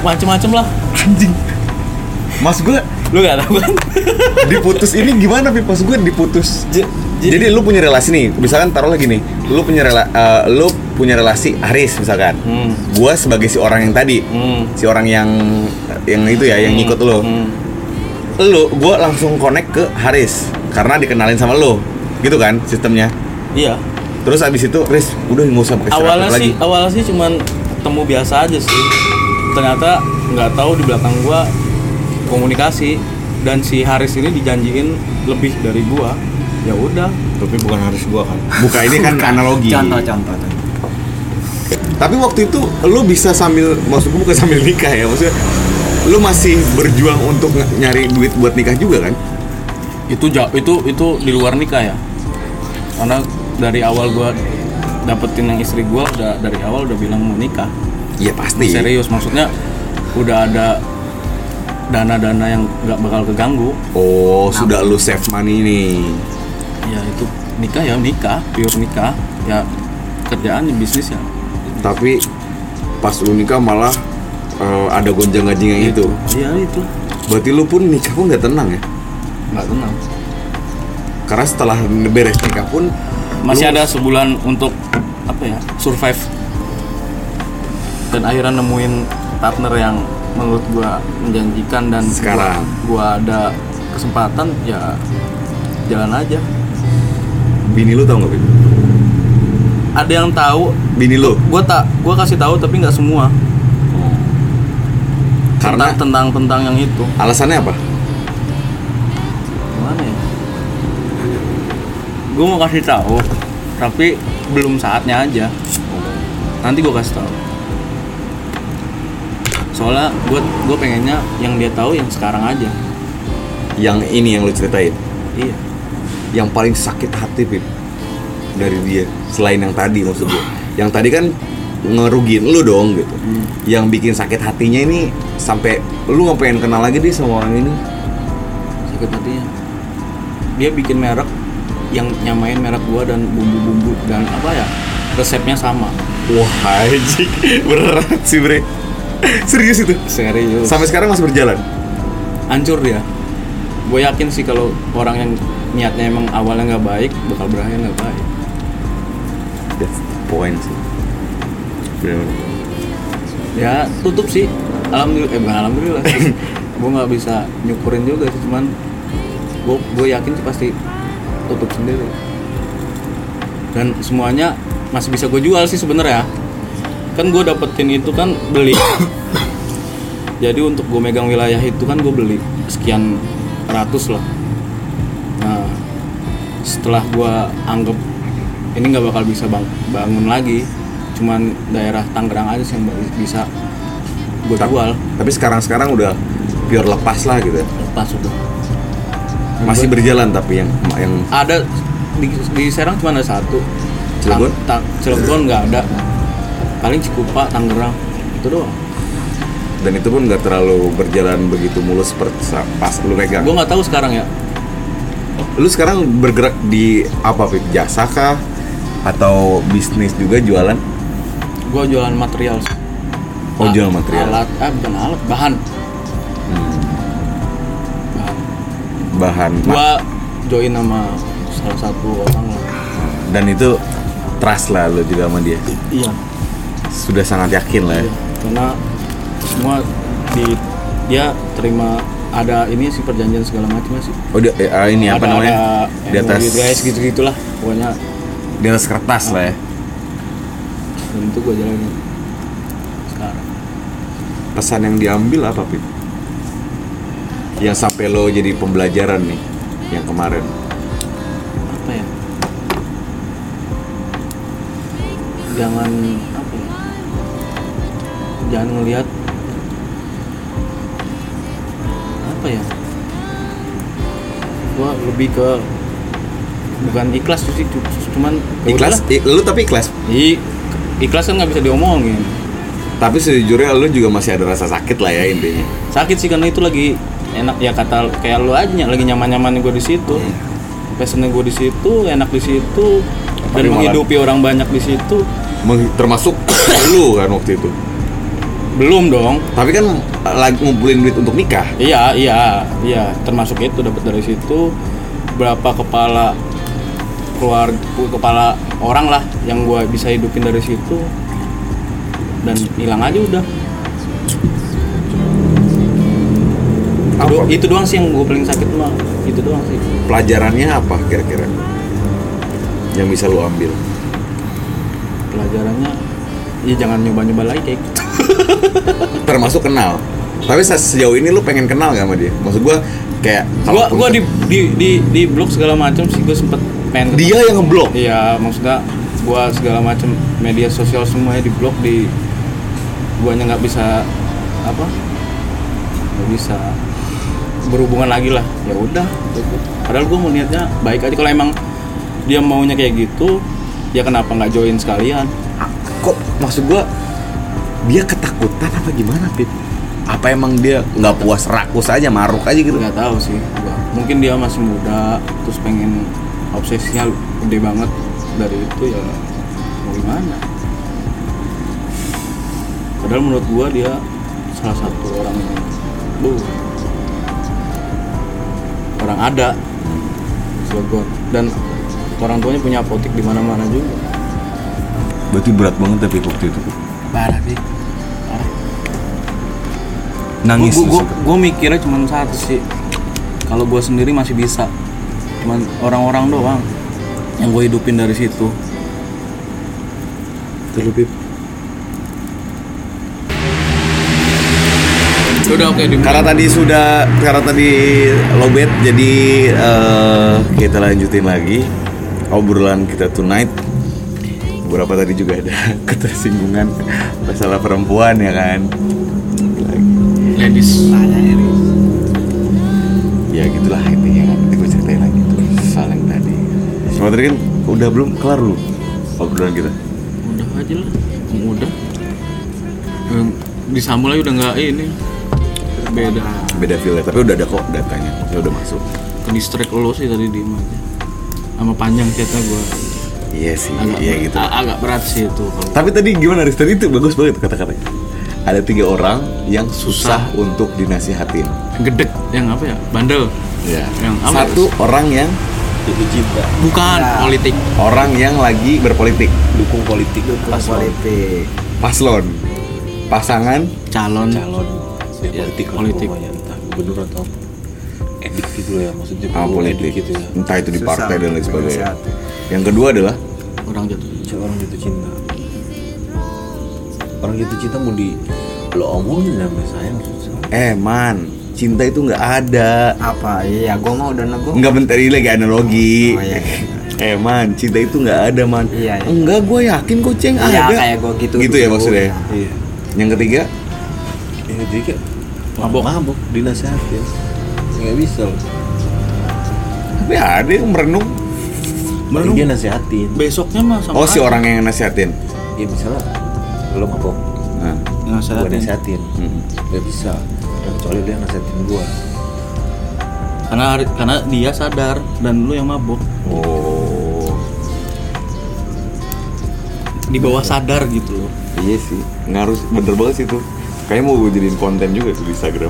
[SPEAKER 3] macem-macem lah
[SPEAKER 1] anjing mas gue
[SPEAKER 3] lu gak tahu kan
[SPEAKER 1] diputus ini gimana Pip? Maksud gue diputus
[SPEAKER 3] J-
[SPEAKER 1] jadi, lu punya relasi nih misalkan taruh lagi nih lu punya rela eh, lu punya relasi Haris misalkan
[SPEAKER 3] Hmm.
[SPEAKER 1] gua sebagai si orang yang tadi
[SPEAKER 3] Hmm.
[SPEAKER 1] si orang yang yang itu ya yang ngikut lu
[SPEAKER 3] Hmm.
[SPEAKER 1] lu gua langsung connect ke Haris karena dikenalin sama lu gitu kan sistemnya
[SPEAKER 3] iya
[SPEAKER 1] terus abis itu Haris udah nggak usah pakai seragam
[SPEAKER 3] awalnya
[SPEAKER 1] lagi
[SPEAKER 3] sih awalnya sih cuman ketemu biasa aja sih ternyata nggak tahu di belakang gua komunikasi dan si Haris ini dijanjiin lebih dari gua ya udah
[SPEAKER 5] tapi bukan harus gua kan
[SPEAKER 1] buka ini kan analogi
[SPEAKER 4] Contoh, contoh, contoh.
[SPEAKER 1] tapi waktu itu lu bisa sambil maksud gua bukan sambil nikah ya maksudnya lu masih berjuang untuk nge- nyari duit buat nikah juga kan
[SPEAKER 3] itu ja- itu itu di luar nikah ya karena dari awal gua dapetin yang istri gua udah dari awal udah bilang mau nikah
[SPEAKER 1] Iya pasti.
[SPEAKER 3] serius maksudnya udah ada dana-dana yang nggak bakal keganggu Nah.
[SPEAKER 1] Oh, sudah lu save money nih.
[SPEAKER 3] ya itu nikah ya nikah pure nikah ya kerjaan ya bisnis ya
[SPEAKER 1] Tapi pas lu nikah malah eh, ada gonjang ganjing yang itu
[SPEAKER 3] Iya itu.
[SPEAKER 1] berarti lu pun nikah pun nggak tenang ya
[SPEAKER 4] nggak tenang
[SPEAKER 1] karena setelah beres nikah pun
[SPEAKER 3] Masih ada sebulan untuk apa ya? Survive. Dan akhirnya nemuin partner yang menurut gua menjanjikan dan gua-
[SPEAKER 1] Sekarang.
[SPEAKER 3] gua, ada kesempatan ya jalan aja.
[SPEAKER 1] bini lu tau nggak Bin?
[SPEAKER 3] Ada yang tahu,
[SPEAKER 1] bini lu
[SPEAKER 3] gua tak gua kasih tahu tapi nggak semua. Oh.
[SPEAKER 1] Karena-
[SPEAKER 3] tentang tentang tentang yang itu.
[SPEAKER 1] alasannya apa
[SPEAKER 3] Gimana ya? Gue mau kasih tahu, tapi belum saatnya aja. Nanti gue kasih tahu. Soalnya gue gue pengennya yang dia tahu yang sekarang aja.
[SPEAKER 1] yang ini yang lu ceritain
[SPEAKER 3] Iya.
[SPEAKER 1] yang paling sakit hati Pip dari dia selain yang tadi maksud gue yang tadi kan ngerugiin lu dong gitu yang bikin sakit hatinya ini sampai lu nggak pengen kenal lagi deh sama orang ini
[SPEAKER 3] Sakit hatinya. Dia bikin merek yang nyamain merek gue dan bumbu-bumbu dan apa ya resepnya sama.
[SPEAKER 1] wah anjing berat sih bre serius itu
[SPEAKER 3] Serius.
[SPEAKER 1] sampai sekarang masih berjalan
[SPEAKER 3] hancur dia gue yakin sih kalau orang yang niatnya emang awalnya nggak baik bakal berakhir nggak baik
[SPEAKER 1] that's the point Ya, sih Bener-bener.
[SPEAKER 3] ya tutup sih alhamdulillah eh bukan alhamdulillah gue nggak bisa nyukurin juga sih cuman gue gue yakin sih pasti tutup sendiri dan semuanya masih bisa gue jual sih sebenarnya kan gue dapetin itu kan beli jadi untuk gue megang wilayah itu kan gue beli sekian ratus lah nah setelah gue anggap ini nggak bakal bisa bang bangun lagi cuman daerah Tangerang aja sih yang ba- bisa gue
[SPEAKER 1] Ta-
[SPEAKER 3] jual
[SPEAKER 1] tapi sekarang sekarang udah pure lepas lah gitu ya.
[SPEAKER 3] lepas udah
[SPEAKER 1] masih berjalan tapi yang yang
[SPEAKER 3] ada di, di Serang cuma ada satu
[SPEAKER 1] Cilegon?
[SPEAKER 3] Tang- Tang- Cilegon nggak ada paling Cikupa Tangerang itu doang
[SPEAKER 1] dan itu pun nggak terlalu berjalan begitu mulus seperti sa- pas lu megang
[SPEAKER 3] gue nggak tahu sekarang ya
[SPEAKER 1] Lu sekarang bergerak di apa, Pip? Jasa kah? Atau bisnis juga jualan?
[SPEAKER 3] gue jualan material sih.
[SPEAKER 1] Oh,
[SPEAKER 3] A-
[SPEAKER 1] jualan material.
[SPEAKER 3] alat ah bukan alat bahan bahan
[SPEAKER 1] Bahan. Nah,
[SPEAKER 3] gue join sama salah satu orang lah
[SPEAKER 1] Dan itu trust lah lu juga sama dia.
[SPEAKER 3] iya
[SPEAKER 1] Sudah sangat yakin lah ya.
[SPEAKER 3] karena semua di dia terima ada ini sih perjanjian segala macam sih
[SPEAKER 1] Oh, dia, eh, ah, ini apa
[SPEAKER 3] Ada-
[SPEAKER 1] namanya?
[SPEAKER 3] ada
[SPEAKER 1] Di atas
[SPEAKER 3] MOU guys gitu gitulah pokoknya
[SPEAKER 1] di atas kertas lah ya.
[SPEAKER 3] dan itu gue jalanin sekarang
[SPEAKER 1] Pesan yang diambil apa, Pip? Yang sampai lo jadi pembelajaran nih yang kemarin.
[SPEAKER 3] apa ya jangan apa ya jangan ngelihat apa ya gua lebih ke bukan ikhlas sih cu- cu- cuman ya
[SPEAKER 1] Ikhlas?
[SPEAKER 3] udahlah.
[SPEAKER 1] I- lu tapi ikhlas.
[SPEAKER 3] I- ikhlas kan nggak bisa diomongin
[SPEAKER 1] Tapi sejujurnya lu juga masih ada rasa sakit lah ya intinya.
[SPEAKER 3] sakit sih karena itu lagi enak ya kata kayak lu aja lagi nyaman nyaman gue di situ passionnya gue di situ enak di situ dan
[SPEAKER 1] Tapi malah-
[SPEAKER 3] menghidupi orang banyak di situ
[SPEAKER 1] Meng- Termasuk lu kan waktu itu.
[SPEAKER 3] belum dong
[SPEAKER 1] Tapi kan lagi ngumpulin duit untuk nikah.
[SPEAKER 3] iya iya iya termasuk itu dapat dari situ berapa kepala keluar kepala orang lah yang gue bisa hidupin dari situ dan hilang aja udah itu,
[SPEAKER 1] Apa?
[SPEAKER 3] do- itu doang sih yang gue paling sakit mah itu doang sih
[SPEAKER 1] Pelajarannya apa kira-kira? Yang bisa lu ambil.
[SPEAKER 3] pelajarannya ya jangan nyoba-nyoba lagi kayak gitu.
[SPEAKER 1] Termasuk kenal. Tapi se- sejauh ini lu pengen kenal gak sama dia? Maksud gua kayak kalau
[SPEAKER 3] gua gua di di di, di blog segala macam sih gua sempet pengen
[SPEAKER 1] Dia yang ngeblok?
[SPEAKER 3] iya maksudnya gua segala macam media sosial semuanya di blog di guanya nggak bisa apa nggak bisa berhubungan lagi lah ya udah gitu. padahal gua mau niatnya baik aja kalau emang dia maunya kayak gitu ya kenapa nggak join sekalian
[SPEAKER 1] Ah, kok maksud gua dia ketakutan apa gimana, Pip? Apa emang dia nggak puas rakus aja, maruk aja gitu?
[SPEAKER 3] nggak tahu sih gua. mungkin dia masih muda terus pengen obsesinya gede banget dari itu ya mau gimana padahal menurut gua dia salah satu orang yang Duh. orang ada Cilegon dan orang tuanya punya apotek di mana-mana juga
[SPEAKER 1] Berarti berat banget tapi waktu itu.
[SPEAKER 3] parah sih parah
[SPEAKER 1] Nangis
[SPEAKER 3] gue
[SPEAKER 1] tuh. sempet.
[SPEAKER 3] mikirnya cuma satu sih kalau gue sendiri masih bisa cuman orang-orang doang yang gue hidupin dari situ terlebih
[SPEAKER 5] Udah oke di
[SPEAKER 1] Karena tadi sudah karena tadi lobet jadi eh, kita lanjutin lagi obrolan kita tonight. Beberapa tadi juga ada ketersinggungan masalah perempuan ya kan.
[SPEAKER 5] ladies.
[SPEAKER 1] Ya gitulah intinya nanti gue ceritain lagi tuh soal yang tadi. Cuma tadi kan udah belum kelar lu obrolan kita.
[SPEAKER 3] udah aja lah udah Yang disambung lagi udah nggak ini beda
[SPEAKER 1] Beda feel tapi udah ada kok datanya. Ya udah masuk.
[SPEAKER 3] ke distract lo sih tadi di aja sama panjang chatnya gue
[SPEAKER 1] Iya sih,
[SPEAKER 3] agak,
[SPEAKER 1] iya gitu.
[SPEAKER 3] a- agak berat sih itu kalau
[SPEAKER 1] Tapi tadi gimana Riz? Tadi itu bagus banget kata-katanya. Ada tiga orang yang susah untuk dinasihatin.
[SPEAKER 3] gedek yang apa ya bandel
[SPEAKER 4] Iya.
[SPEAKER 1] Ya.
[SPEAKER 3] Yang apa?
[SPEAKER 1] Satu orang yang
[SPEAKER 5] Itu cinta.
[SPEAKER 3] bukan politik
[SPEAKER 1] orang yang lagi berpolitik,
[SPEAKER 5] Dukung politik.
[SPEAKER 4] politik
[SPEAKER 1] paslon, pasangan,
[SPEAKER 3] calon
[SPEAKER 5] Calon. Iya,
[SPEAKER 3] Ya,
[SPEAKER 5] politik. lah
[SPEAKER 3] politik.
[SPEAKER 5] pokoknya. Entah gubernur atau edik gitu ya maksudnya.
[SPEAKER 1] ah,
[SPEAKER 5] gubernur edik
[SPEAKER 1] politik,
[SPEAKER 5] gitu ya.
[SPEAKER 1] entah itu di
[SPEAKER 4] Susah
[SPEAKER 1] partai dan lain
[SPEAKER 4] untuk
[SPEAKER 1] sebagainya.
[SPEAKER 4] dinasihatin.
[SPEAKER 1] Yang kedua adalah
[SPEAKER 3] orang jatuh
[SPEAKER 5] orang jatuh cinta orang jatuh cinta mau di lo omongin namanya sayang susah
[SPEAKER 1] eh man, cinta itu nggak ada.
[SPEAKER 4] apa iya gua mau udah nego
[SPEAKER 1] Nggak bentar ini lagi analogi.
[SPEAKER 4] Oh, iya, iya.
[SPEAKER 1] Eh man, cinta itu nggak ada man.
[SPEAKER 4] Iya, iya.
[SPEAKER 1] Enggak, gue yakin kok ceng
[SPEAKER 4] Iya,
[SPEAKER 1] ada.
[SPEAKER 4] kayak gua gitu
[SPEAKER 1] Gitu ya
[SPEAKER 4] dulu.
[SPEAKER 1] maksudnya.
[SPEAKER 5] iya
[SPEAKER 1] Yang ketiga,
[SPEAKER 5] ini Iya, jadi kayak
[SPEAKER 3] Mabok.
[SPEAKER 5] mabok dinasehatin nggak bisa lo
[SPEAKER 1] tapi ada yang merenung.
[SPEAKER 5] Malah dia nasehatin
[SPEAKER 3] besoknya mah sama
[SPEAKER 1] Oh si
[SPEAKER 3] aja.
[SPEAKER 1] orang yang nasihatin.
[SPEAKER 5] ya misalnya lo mabok
[SPEAKER 1] Nah,
[SPEAKER 3] nggak salah
[SPEAKER 5] gue nasehatin
[SPEAKER 1] mm.
[SPEAKER 5] nggak bisa Dan kecuali dia nasehatin gue
[SPEAKER 3] karena karena dia sadar dan lu yang mabok
[SPEAKER 1] Oh,
[SPEAKER 3] di bawah sadar gitu loh
[SPEAKER 1] iya sih. Ngaruh bener banget sih itu. Kayaknya mau gue jadiin konten juga tuh di Instagram.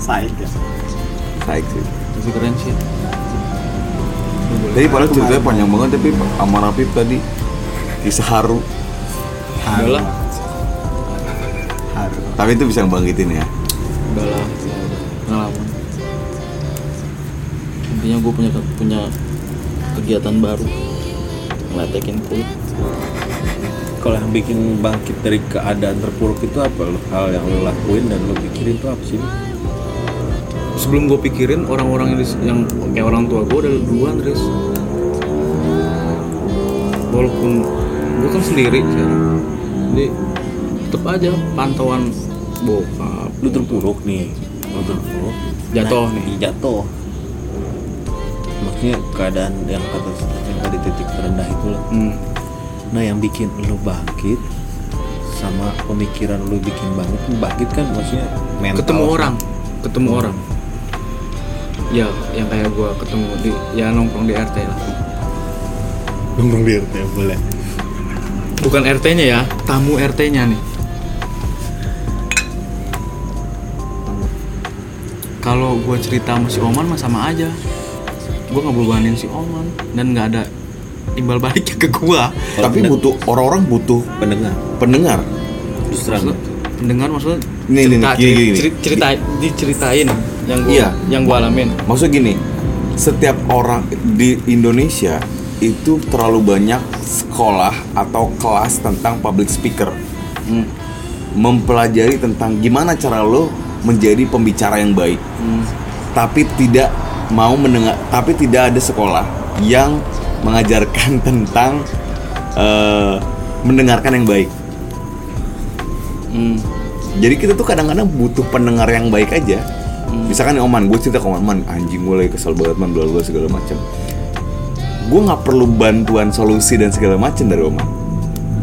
[SPEAKER 4] Saik ya
[SPEAKER 1] Naik sih.
[SPEAKER 3] tapi keren sih
[SPEAKER 1] Jadi padahal ceritanya panjang banget tapi sama Rafif tadi kisah haru.
[SPEAKER 3] udahlah
[SPEAKER 4] harus
[SPEAKER 1] Tapi itu bisa ngebangkitin ya.
[SPEAKER 3] udahlah pengalaman intinya gue punya punya kegiatan baru ngeletekin kulit
[SPEAKER 5] kalau yang bikin bangkit dari keadaan terpuruk itu apa lo hal yang lo lakuin dan lo pikirin itu apa sih
[SPEAKER 3] sebelum gue pikirin orang-orang yang, dis- yang kayak orang tua gue udah duluan Riz walaupun gue kan sendiri sekarang jadi tetep aja pantauan bokap
[SPEAKER 5] lo terpuruk nih lo terpuruk
[SPEAKER 3] Jatuh
[SPEAKER 5] Nah,
[SPEAKER 3] nih.
[SPEAKER 5] iya, jatuh maksudnya keadaan yang kata yang tadi titik terendah itu lah
[SPEAKER 3] Hmm.
[SPEAKER 5] nah yang bikin lo bangkit sama pemikiran lo bikin bangkit bangkit kan maksudnya mental
[SPEAKER 3] ketemu orang ketemu
[SPEAKER 1] Hmm.
[SPEAKER 3] orang ya yang kayak gue ketemu di ya nongkrong di RT lah
[SPEAKER 5] ngomong di RT boleh
[SPEAKER 3] bukan RT-nya ya tamu RT-nya nih kalau gue cerita sama si Oman mah sama aja gue nggak bebanin si Oman dan nggak ada imbal baliknya ke gue
[SPEAKER 1] tapi butuh orang-orang butuh
[SPEAKER 5] pendengar
[SPEAKER 1] pendengar.
[SPEAKER 5] justru
[SPEAKER 3] maksudnya pendengar maksudnya
[SPEAKER 1] Nih, nih,
[SPEAKER 3] cerita,
[SPEAKER 1] nih, gini, gini,
[SPEAKER 3] ceri- cerita diceritain yang gue
[SPEAKER 1] Iya.
[SPEAKER 3] yang gue alamin
[SPEAKER 1] Maksud gini, setiap orang di Indonesia itu terlalu banyak sekolah atau kelas tentang public speaker.
[SPEAKER 3] Hmm.
[SPEAKER 1] Mempelajari tentang gimana cara lo menjadi pembicara yang baik. Tapi tidak mau mendengar, tapi tidak ada sekolah yang mengajarkan tentang eh, mendengarkan yang baik.
[SPEAKER 3] Hmm.
[SPEAKER 1] Jadi kita tuh kadang-kadang butuh pendengar yang baik aja.
[SPEAKER 3] Hmm.
[SPEAKER 1] Misalkan nih, Oman, gue cerita ke Oman, "Man, anjing gue lagi kesel banget man, bla bla segala macam. Gue nggak perlu bantuan solusi dan segala macam dari Oman.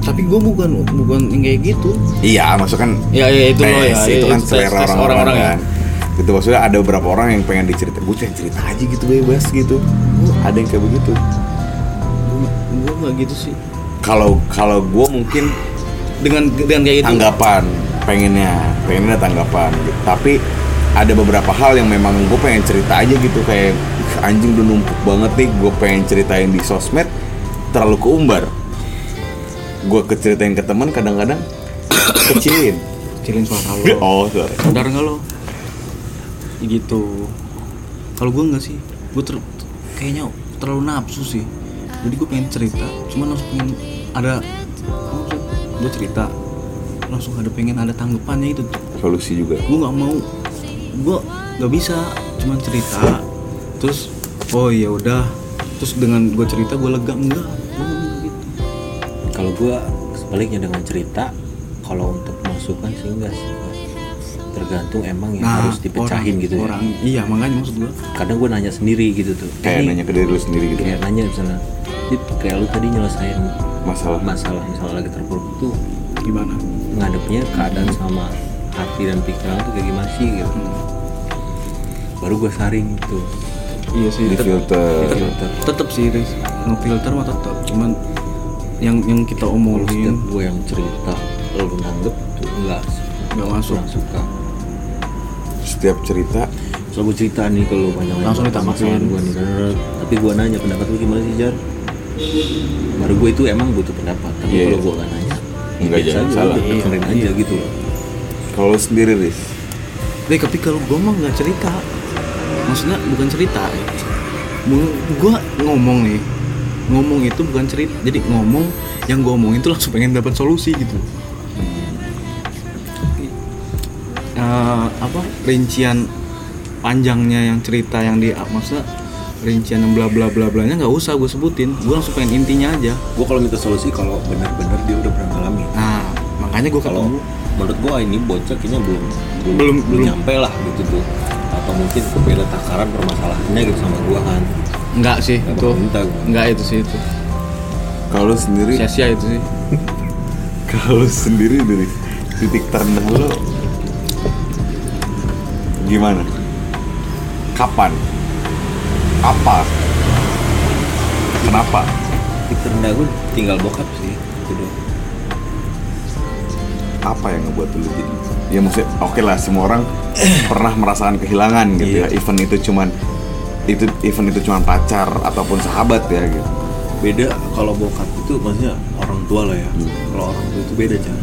[SPEAKER 3] tapi gue bukan bukan yang kayak gitu
[SPEAKER 1] Iya, maksud kan
[SPEAKER 3] ya, ya itu ya. loh
[SPEAKER 1] tes,
[SPEAKER 3] ya
[SPEAKER 1] itu
[SPEAKER 3] ya,
[SPEAKER 1] kan
[SPEAKER 3] tes-
[SPEAKER 1] selera
[SPEAKER 3] tes
[SPEAKER 1] orang-orang kan. Gitu maksudnya ada beberapa orang yang pengen dicerita, gue pengen cerita aja gitu bebas gitu. Ada yang kayak begitu.
[SPEAKER 3] gue nggak gitu sih
[SPEAKER 1] kalau kalau gue mungkin
[SPEAKER 3] dengan dengan kayak gitu. itu
[SPEAKER 1] tanggapan pengennya pengennya tanggapan gitu. tapi ada beberapa hal yang memang gue pengen cerita aja gitu kayak "Ih, anjing udah numpuk banget nih gue pengen ceritain di sosmed terlalu keumbar gue keceritain ke teman kadang-kadang kecilin
[SPEAKER 3] kecilin suara lo
[SPEAKER 1] oh sorry
[SPEAKER 3] sadar nggak lo Ya gitu kalau gue nggak sih gue ter kayaknya terlalu nafsu sih jadi gue pengen cerita cuman harus pengen ada gue cerita langsung ada pengen ada tanggapannya itu tuh
[SPEAKER 1] solusi juga
[SPEAKER 3] gue nggak mau gue nggak bisa cuman cerita terus oh ya udah terus dengan gue cerita gue lega enggak Gua nggak gitu.
[SPEAKER 5] kalau gua sebaliknya dengan cerita kalau untuk masukan sih enggak sih Pak. tergantung emang yang harus dipecahin
[SPEAKER 3] Nah, orang,
[SPEAKER 5] gitu
[SPEAKER 3] orang iya makanya maksud gue
[SPEAKER 5] ya kadang gua nanya sendiri gitu tuh
[SPEAKER 1] kayak
[SPEAKER 5] Eh,
[SPEAKER 1] nanya ke diri lu sendiri gitu
[SPEAKER 5] kayak nanya misalnya "Dit, kayak lu tadi nyelesain
[SPEAKER 1] Masalah.
[SPEAKER 5] masalah misalnya lagi terpuruk tuh
[SPEAKER 3] gimana
[SPEAKER 5] ngadepnya keadaan sama hati dan pikiran tuh kayak gimana sih gitu baru gua saring tuh
[SPEAKER 3] iya sih
[SPEAKER 1] di
[SPEAKER 3] tetep-
[SPEAKER 1] filter
[SPEAKER 5] filter
[SPEAKER 3] tetap sih Riz ngefilter mah tetap cuman yang yang kita
[SPEAKER 5] kalau setiap
[SPEAKER 3] omongin
[SPEAKER 5] gua yang cerita lu nanggep tuh enggak sih.
[SPEAKER 3] nggak masuk
[SPEAKER 5] kurang suka
[SPEAKER 1] setiap cerita
[SPEAKER 5] soal gue cerita nih ke lu panjang
[SPEAKER 3] Langsung ditanggepin.
[SPEAKER 5] gue nih rrrr. tapi gue nanya pendapat lu gimana sih Jar baru gue itu emang butuh pendapat tapi
[SPEAKER 1] Iya,
[SPEAKER 5] kalau
[SPEAKER 1] iya.
[SPEAKER 5] gue gak nanya
[SPEAKER 1] Enggak,
[SPEAKER 5] biasa
[SPEAKER 1] jangan
[SPEAKER 5] aja,
[SPEAKER 1] salah.
[SPEAKER 5] udah, dengerin aja gitu loh
[SPEAKER 1] kalau lu sendiri Riz
[SPEAKER 3] Deh, tapi kalau gue mah nggak cerita maksudnya bukan cerita ya. gue ngomong nih ngomong itu bukan cerita jadi ngomong yang gue omongin itu langsung pengen dapat solusi gitu Eh, apa rincian panjangnya yang cerita yang di maksudnya rincian yang bla bla bla blanya nggak usah gue sebutin gue langsung pengen intinya aja
[SPEAKER 5] gue kalau minta solusi kalau benar-benar dia udah pernah ngalami
[SPEAKER 3] nah makanya gue
[SPEAKER 5] kalau
[SPEAKER 3] ketemu
[SPEAKER 5] menurut gue ini bocah kayaknya belum
[SPEAKER 3] Belum, belum.
[SPEAKER 5] nyampe lah gitu tuh atau mungkin berbeda takaran permasalahannya gitu sama gue kan
[SPEAKER 3] Enggak sih
[SPEAKER 5] Nggak
[SPEAKER 3] itu.
[SPEAKER 5] bakal minta gua.
[SPEAKER 3] Enggak itu sih itu.
[SPEAKER 1] kalau lu sendiri
[SPEAKER 3] Sia-sia itu sih.
[SPEAKER 1] Kalau lu sendiri dari titik terendah lo gimana? Kapan? Apa? Kenapa?
[SPEAKER 5] titik terendah gue tinggal bokap sih gitu doang.
[SPEAKER 1] Apa yang ngebuat lu jadi? Ya maksudnya, oke lah semua orang pernah merasakan kehilangan gitu ya.
[SPEAKER 5] Iya.
[SPEAKER 1] Event itu cuman itu event itu cuman pacar ataupun sahabat ya gitu.
[SPEAKER 5] beda kalau bokap itu maksudnya orang tua lah ya kalau orang tua itu beda kan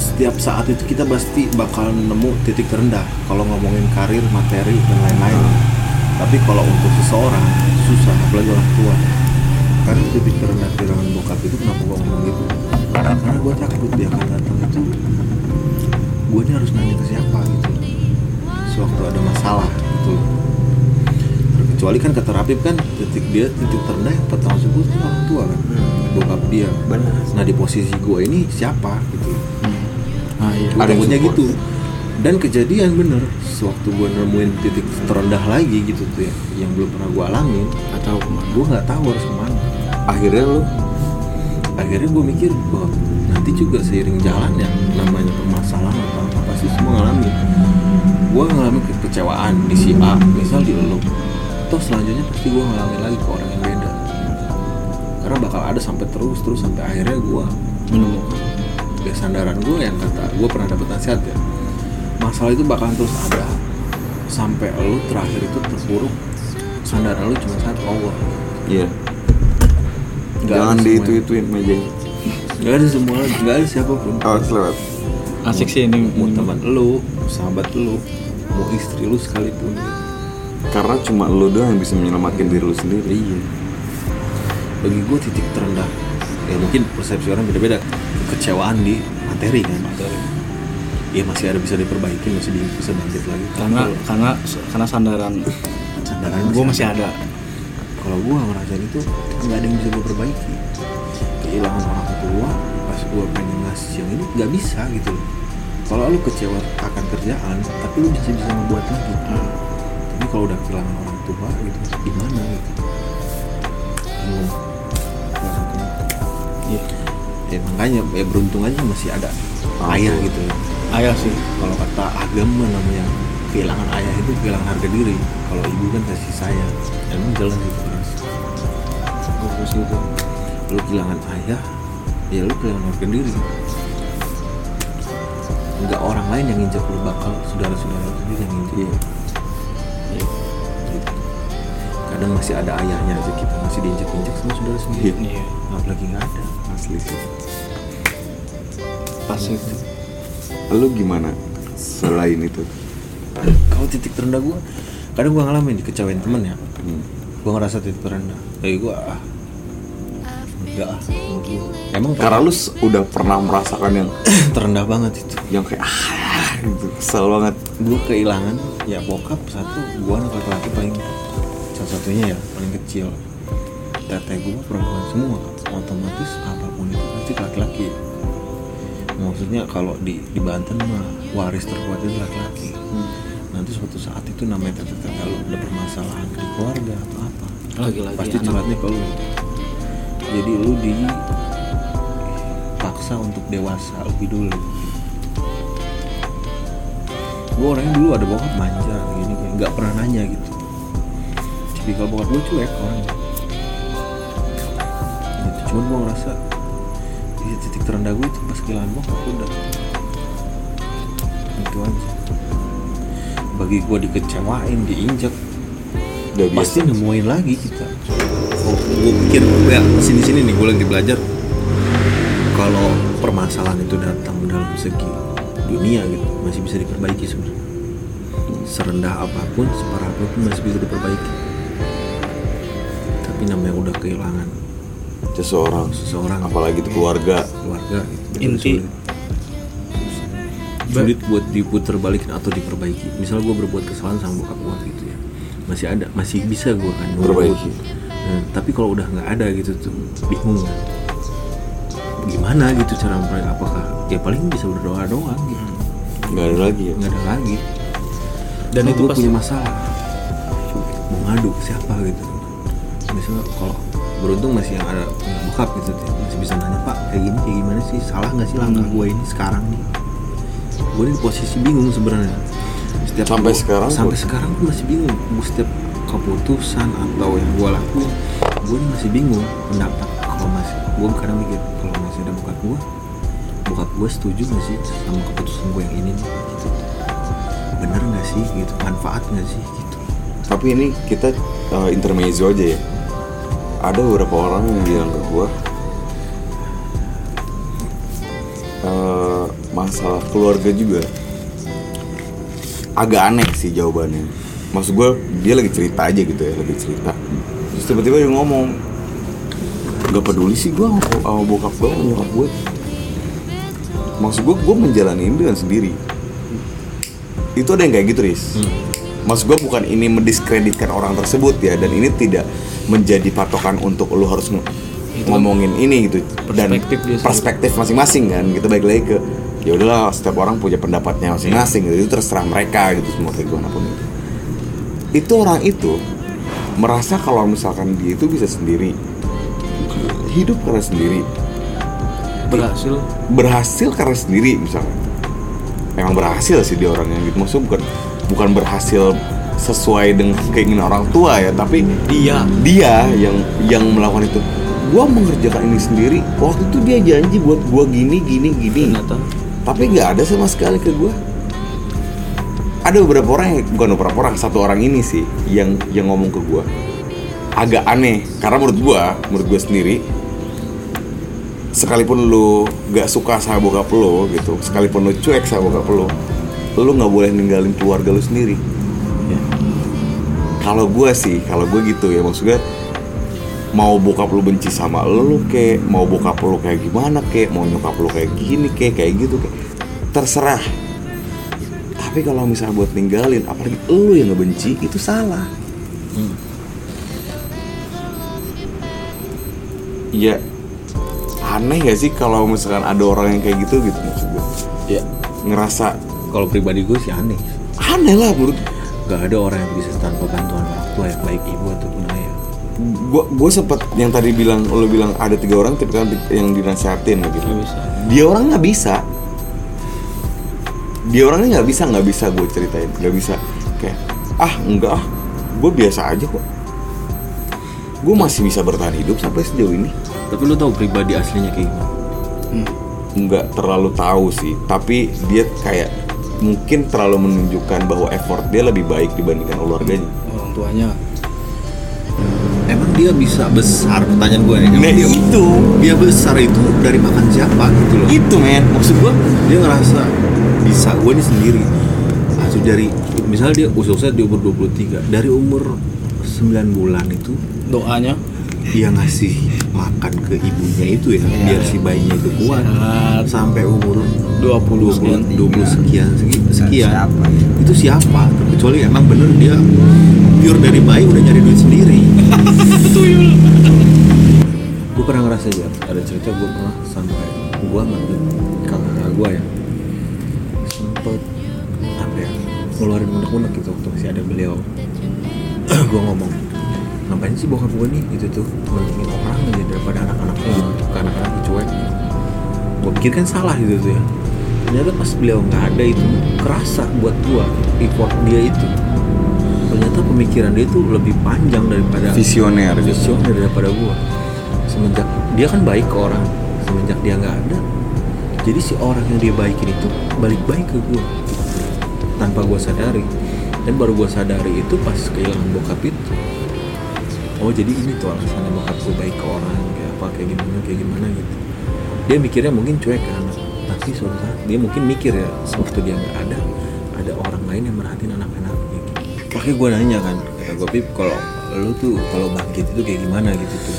[SPEAKER 5] setiap saat itu kita pasti bakal nemu titik terendah kalau ngomongin karir materi dan lain-lain tapi kalau untuk seseorang susah apalagi orang tua kan titik terendah kehilangan bokap itu kenapa gua ngomong gitu karena gua takut dia akan datang itu gua ini harus nanya ke siapa gitu sewaktu ada masalah gitu kecuali kan kata Rapip kan titik dia titik terendah yang pertama sebut itu orang tua kan bokap dia
[SPEAKER 3] Benar.
[SPEAKER 5] nah di posisi gue ini siapa gitu
[SPEAKER 3] Nah, iya.
[SPEAKER 5] Gua
[SPEAKER 1] Ada yang
[SPEAKER 5] takutnya
[SPEAKER 1] support.
[SPEAKER 5] gitu dan kejadian bener sewaktu gue nemuin titik terendah lagi gitu tuh ya yang belum pernah gue alamin
[SPEAKER 3] Enggak tahu kemana.
[SPEAKER 5] gue nggak tahu harus kemana
[SPEAKER 1] Akhirnya lu
[SPEAKER 5] akhirnya gue mikir bahwa nanti juga seiring jalan ya namanya permasalahan atau apa pasti semua ngalami gue ngalami kekecewaan di si A misal di lo toh selanjutnya pasti gue ngalamin lagi ke orang yang beda karena bakal ada sampai terus terus sampai akhirnya gue
[SPEAKER 3] Menemukan.
[SPEAKER 5] ya sandaran gue yang kata gue pernah dapet nasihat ya masalah itu bakalan terus ada sampai lo terakhir itu terpuruk sandaran lo cuma satu Allah
[SPEAKER 1] Iya.
[SPEAKER 5] Nggak
[SPEAKER 1] Jangan
[SPEAKER 5] ada
[SPEAKER 1] di
[SPEAKER 5] semuanya.
[SPEAKER 1] itu ituin mejanya.
[SPEAKER 5] nggak ada semua nggak ada siapapun
[SPEAKER 1] Oh, selewat.
[SPEAKER 3] Asik sih ini
[SPEAKER 5] mau teman lu, mau sahabat lu, mau istri lu sekalipun.
[SPEAKER 1] Karena cuma lu doang yang bisa menyelamatkan diri lu sendiri.
[SPEAKER 5] Iya. Bagi gue titik terendah. Ya mungkin persepsi orang beda-beda. Kekecewaan di materi kan. Iya masih ada bisa diperbaiki, masih di- bisa bangkit lagi.
[SPEAKER 3] karena
[SPEAKER 5] Kalau
[SPEAKER 3] karena karena sandaran
[SPEAKER 5] sandaran
[SPEAKER 3] gue masih ada.
[SPEAKER 5] Kalau gue ngerasain itu nggak ada yang bisa gue perbaiki. Kehilangan orang kedua, pas gue pengen ngasih yang ini nggak bisa gitu. loh. Kalau lu kecewa akan kerjaan, tapi lu bisa bisa membuat lagi. Tapi kalau udah kehilangan orang tua gitu, gimana gitu? Iya. Bingung. Nggak ngerti.
[SPEAKER 3] Iya.
[SPEAKER 5] Ya, makanya ya beruntung aja masih ada ayah gitu. ya.
[SPEAKER 3] Ayah sih.
[SPEAKER 5] Kalau kata agama namanya kehilangan ayah itu kehilangan harga diri. Kalau ibu kan kasih sayang, emang jalan gitu.
[SPEAKER 3] Bagus
[SPEAKER 5] Terus
[SPEAKER 3] gitu.
[SPEAKER 5] lu kehilangan ayah ya lu kehilangan harga diri nggak orang lain yang nginjak lu bakal saudara-saudara lu sendiri yang nginjak Iya. Gitu. kadang masih ada ayahnya aja kita masih diinjak-injak sama saudara sendiri
[SPEAKER 3] Iya.
[SPEAKER 5] apalagi nggak ada
[SPEAKER 1] asli sih
[SPEAKER 5] pas itu
[SPEAKER 1] lu gimana selain itu
[SPEAKER 5] kalau titik terendah gue kadang gue ngalamin dikecewain temen ya gue ngerasa titik terendah eh gue ah enggak ah menurut gua. emang
[SPEAKER 1] karena lu s- udah pernah merasakan yang
[SPEAKER 5] terendah banget itu
[SPEAKER 1] yang kayak ah gitu kesel banget
[SPEAKER 5] gue kehilangan ya bokap satu gue anak laki-laki paling salah satunya ya paling kecil teteh gue perempuan semua otomatis apapun itu pasti laki-laki maksudnya kalau di di Banten mah waris terkuat itu laki-laki nanti suatu saat itu namanya teteh teteh lu ada permasalahan di keluarga atau apa
[SPEAKER 3] Lagi-lagi
[SPEAKER 5] pasti
[SPEAKER 3] anak.
[SPEAKER 5] curhatnya ke lu jadi lu dipaksa untuk dewasa lebih dulu gue orangnya dulu ada bokap manja gini kayak nggak pernah nanya gitu tipikal bokap gue cuek orangnya gitu cuman gue ngerasa di titik terendah gue itu pas kehilangan bokap udah itu aja bagi gue dikecewain diinjak
[SPEAKER 1] udah biasa
[SPEAKER 5] pasti nemuin lagi kita Iya. oh, gue pikir gue sini sini nih gue lagi belajar kalau permasalahan itu datang dalam segi dunia gitu masih bisa diperbaiki sebenarnya serendah apapun separah apapun masih bisa diperbaiki tapi namanya udah kehilangan
[SPEAKER 1] seseorang
[SPEAKER 5] Seseorang.
[SPEAKER 1] apalagi itu keluarga
[SPEAKER 5] keluarga gitu.
[SPEAKER 3] Inti.
[SPEAKER 5] sulit. sulit buat diputer balikin atau diperbaiki misal gue berbuat kesalahan sama bokap gue gitu ya masih ada masih bisa gue kan nurut.
[SPEAKER 1] Perbaiki.
[SPEAKER 5] Nah, tapi kalau udah nggak ada gitu tuh bingung gimana gitu cara memperbaiki apakah ya paling bisa berdoa doang gitu
[SPEAKER 3] Hmm.
[SPEAKER 1] nggak ada lagi ya
[SPEAKER 5] nggak ada lagi
[SPEAKER 3] Dan itu
[SPEAKER 5] gue
[SPEAKER 3] pas-
[SPEAKER 5] punya masalah mau ngadu ke siapa gitu misalnya kalau beruntung masih yang ada punya bokap gitu tuh, masih bisa nanya pak kayak gini kayak gimana sih salah nggak sih langkah gue ini sekarang nih gue di posisi bingung sebenarnya setiap
[SPEAKER 1] Sampai
[SPEAKER 5] gua-
[SPEAKER 1] sekarang
[SPEAKER 5] sampai
[SPEAKER 1] gua-
[SPEAKER 5] sekarang gue masih bingung Gua setiap keputusan atau yang gue lakuin gue ini masih bingung pendapat kalau masih gue kadang mikir kalau masih ada bokap gue bokap gue setuju nggak sih sama keputusan gue yang ini nih? gitu bener nggak sih gitu manfaat nggak sih gitu
[SPEAKER 1] tapi ini kita eh, intermezzo aja ya ada beberapa orang yang bilang ke gua eh, masalah keluarga juga agak aneh sih jawabannya maksud gua dia lagi cerita aja gitu ya lagi cerita terus tiba-tiba dia ngomong nggak peduli sih gua sama, sama bokap gua sama nyokap gue maksud gua gua menjalani ini dengan sendiri itu ada yang kayak gitu Riz
[SPEAKER 3] Hmm.
[SPEAKER 1] Maksud gue bukan ini mendiskreditkan orang tersebut ya dan ini tidak menjadi patokan untuk lu harus ng- ngomongin ini gitu dan
[SPEAKER 3] perspektif dia sendiri.
[SPEAKER 1] perspektif masing-masing kan kita balik lagi ke ya udahlah setiap orang punya pendapatnya masing-masing gitu itu terserah mereka gitu semua kayak gimana pun itu itu orang itu merasa kalau misalkan dia itu bisa sendiri hidup karena sendiri
[SPEAKER 3] berhasil
[SPEAKER 1] berhasil karena sendiri misalnya emang berhasil sih dia orangnya gitu maksudnya bukan bukan berhasil sesuai dengan keinginan orang tua ya tapi
[SPEAKER 3] Dia.
[SPEAKER 1] dia yang yang melakukan itu gua mengerjakan ini sendiri waktu itu dia janji buat gua gini gini gini
[SPEAKER 3] ternyata
[SPEAKER 1] tapi nggak ada sama sekali ke gua ada beberapa orang yang- bukan beberapa orang satu orang ini sih yang yang ngomong ke gua agak aneh karena menurut gua menurut gua sendiri sekalipun lu gak suka sama bokap lu gitu sekalipun lu cuek sama bokap lu lu nggak boleh ninggalin keluarga lu sendiri Ya. kalau gua sih kalau gua gitu ya maksudnya mau bokap lu benci sama lu kek mau bokap lu kayak gimana kek mau nyokap lu kayak gini kek kayak gitu kek terserah tapi kalau misalnya buat ninggalin apalagi lu yang ngebenci itu salah
[SPEAKER 5] Hmm.
[SPEAKER 1] Iya aneh gak sih kalau misalkan ada orang yang kayak gitu gitu maksud gue
[SPEAKER 5] ya
[SPEAKER 1] ngerasa
[SPEAKER 5] kalau pribadi gue sih aneh
[SPEAKER 1] aneh lah menurut
[SPEAKER 5] nggak ada orang yang bisa tanpa bantuan orang tua ya baik ibu ataupun ayah
[SPEAKER 1] gue gue sempet yang tadi bilang lo bilang ada tiga orang tapi kan yang dinasehatin gitu
[SPEAKER 3] nggak bisa
[SPEAKER 1] dia orang nggak bisa dia orangnya nggak bisa nggak bisa gue ceritain nggak bisa kayak ah enggak ah gue biasa aja kok gue masih bisa bertahan hidup sampai sejauh ini
[SPEAKER 5] tapi lu tahu pribadi aslinya kayak gimana
[SPEAKER 1] nggak terlalu tahu sih tapi dia kayak mungkin terlalu menunjukkan bahwa effort dia lebih baik dibandingkan keluarganya
[SPEAKER 3] orang tuanya
[SPEAKER 5] emang dia bisa besar pertanyaan gue
[SPEAKER 1] Nah,
[SPEAKER 5] nih dia,
[SPEAKER 1] itu.
[SPEAKER 5] dia besar itu dari makan siapa gitu loh
[SPEAKER 1] itu men
[SPEAKER 5] maksud gue dia ngerasa bisa gue ini sendiri hasil dari misalnya dia usia di umur 23 dari umur 9 bulan itu
[SPEAKER 3] doanya
[SPEAKER 5] dia ngasih makan ke ibunya itu ya biar si bayinya itu kuat
[SPEAKER 3] Iya. Sehat.
[SPEAKER 5] sampai umur
[SPEAKER 3] 20 sekian.
[SPEAKER 5] 20, 20 sekian segi- sekian
[SPEAKER 4] Siapa?
[SPEAKER 5] itu siapa kecuali emang bener dia pure dari bayi udah nyari duit sendiri gue pernah ngerasa ya ada cerita gue pernah sampai gue ngambil kakak gue ya sempet apa ya ngeluarin unek-unek gitu waktu masih ada beliau gue ngomong ngapain sih bokap gue nih gitu tuh mendingin orang aja daripada anak-anak gitu anak-anak cuek gue pikir kan salah gitu tuh ya ternyata pas beliau nggak ada itu kerasa buat gue effort dia itu ternyata pemikiran dia itu lebih panjang daripada
[SPEAKER 1] visioner gitu
[SPEAKER 5] visioner daripada gua semenjak dia kan baik ke orang semenjak dia nggak ada jadi si orang yang dia baikin itu balik baik ke gua tanpa gua sadari dan baru gua sadari itu pas kehilangan bokap itu oh jadi ini tuh alasannya bokap gua baik ke orang kayak apa kayak gimana kayak gimana gitu dia mikirnya mungkin cuek ke anak tapi suatu saat dia mungkin mikir ya waktu dia nggak ada ada orang lain yang merhatiin anak-anaknya gitu. makanya gue nanya kan kata gue pip kalau lu tuh kalau bangkit itu kayak gimana gitu tuh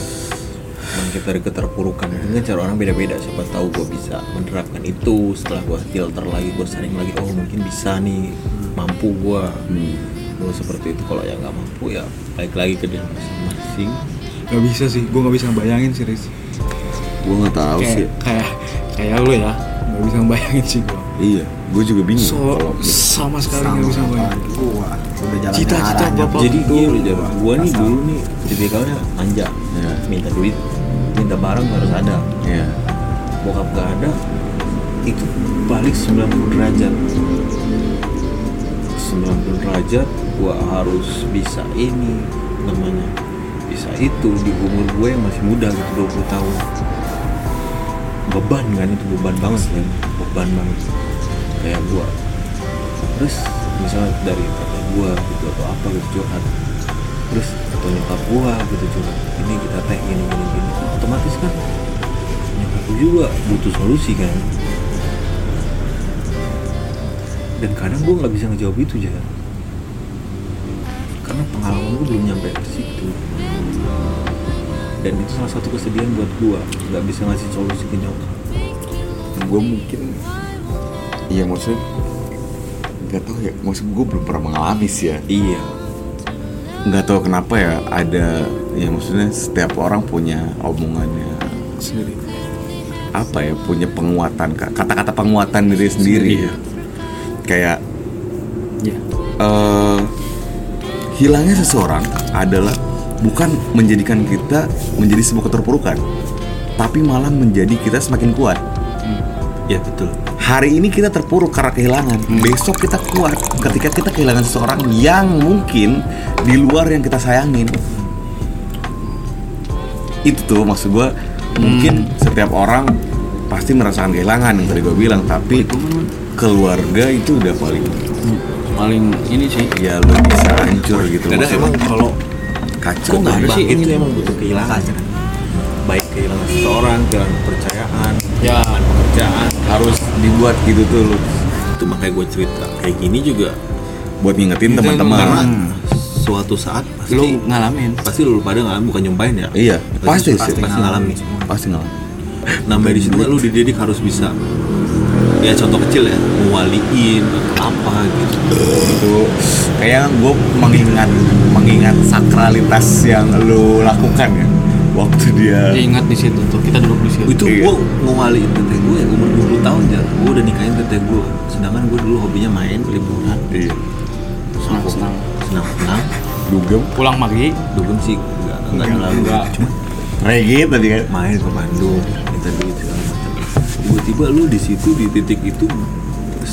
[SPEAKER 5] bangkit dari keterpurukan mungkin cara orang beda-beda siapa tahu gue bisa menerapkan itu setelah gue filter lagi gue sering lagi oh mungkin bisa nih mampu gue
[SPEAKER 1] Hmm.
[SPEAKER 5] Gua seperti itu kalau yang nggak mampu ya balik lagi ke diri masing-masing
[SPEAKER 6] Gak bisa sih, gue gak bisa ngebayangin sih Riz
[SPEAKER 1] gue nggak tahu sih
[SPEAKER 6] Kayak, kayak, kayak lu ya Gak bisa ngebayangin sih gue
[SPEAKER 1] iya gue juga bingung
[SPEAKER 6] So,
[SPEAKER 1] kalau
[SPEAKER 6] sama sekali gak bisa ngebayangin
[SPEAKER 4] Gua udah jalan
[SPEAKER 6] Cita-cita bapak
[SPEAKER 5] jadi
[SPEAKER 6] gue
[SPEAKER 5] gini aja gue nih dulu nih tipikalnya manja
[SPEAKER 1] Iya.
[SPEAKER 5] minta duit minta barang harus ada
[SPEAKER 1] Iya.
[SPEAKER 5] bokap gak ada itu balik 90 derajat 90 derajat gua harus bisa ini namanya bisa itu di umur gue yang masih muda gitu 20 tahun beban kan itu beban banget kan beban banget kayak gua terus misalnya dari kata gua gitu atau apa gitu curhat terus atau nyokap gua gitu curhat ini kita teh gini gini gini otomatis kan nyokap gua juga butuh solusi kan dan kadang gua nggak bisa ngejawab itu aja karena pengalaman gua belum nyampe ke situ dan itu salah satu kesedihan buat gua nggak bisa ngasih solusi ke nyokap
[SPEAKER 1] gue mungkin iya maksudnya nggak tahu ya maksud gue belum pernah mengalami sih ya
[SPEAKER 5] iya
[SPEAKER 1] nggak tahu kenapa ya ada ya maksudnya setiap orang punya omongannya sendiri apa ya punya penguatan ka- kata-kata penguatan diri sendiri ya. kayak Iya. eh, hilangnya seseorang adalah bukan menjadikan kita menjadi sebuah keterpurukan tapi malah menjadi kita semakin kuat
[SPEAKER 5] iya betul
[SPEAKER 1] hari ini kita terpuruk karena kehilangan besok kita kuat ketika kita kehilangan seseorang yang mungkin di luar yang kita sayangin itu tuh maksud gue mungkin
[SPEAKER 5] Hmm.
[SPEAKER 1] setiap orang pasti merasakan kehilangan yang tadi gue bilang tapi keluarga itu udah paling
[SPEAKER 3] paling ini sih
[SPEAKER 1] ya lo bisa hancur gitu
[SPEAKER 5] kadang
[SPEAKER 1] maksudnya.
[SPEAKER 5] emang kalau
[SPEAKER 1] kacau
[SPEAKER 5] kok nggak ada
[SPEAKER 1] banget.
[SPEAKER 5] sih ini emang butuh kehilangan baik kehilangan seseorang kehilangan kepercayaan
[SPEAKER 3] ya
[SPEAKER 5] pekerjaan
[SPEAKER 1] harus dibuat gitu tuh lo
[SPEAKER 5] itu makanya gue cerita kayak gini juga
[SPEAKER 1] buat ngingetin
[SPEAKER 5] karena
[SPEAKER 1] teman-teman
[SPEAKER 5] suatu saat pasti
[SPEAKER 3] lu ngalamin
[SPEAKER 5] pasti lu pada ngalamin bukan nyompain ya
[SPEAKER 1] iya pasti sih
[SPEAKER 5] pasti, pasti ngalamin
[SPEAKER 1] pasti ngalamin
[SPEAKER 5] namanya di situ kan lu dididik harus bisa ya contoh kecil ya mewaliin atau apa gitu
[SPEAKER 1] itu kayak gue mengingat mengingat sakralitas yang lu lakukan ya waktu dia
[SPEAKER 3] ingat di situ tuh kita duduk di situ
[SPEAKER 5] itu
[SPEAKER 1] Iya.
[SPEAKER 5] gua ngewaliin teteh gue yang umur 20 tahun ya gue udah nikahin teteh gue sedangkan gue dulu hobinya main liburan
[SPEAKER 1] iya
[SPEAKER 3] senang-senang
[SPEAKER 5] senang senang
[SPEAKER 1] dugem
[SPEAKER 3] pulang pagi
[SPEAKER 5] dugem sih nggak nggak terlalu cuma
[SPEAKER 1] reggae tadi kan
[SPEAKER 5] main ke Bandung minta duit segala macam tiba-tiba lu di situ di titik itu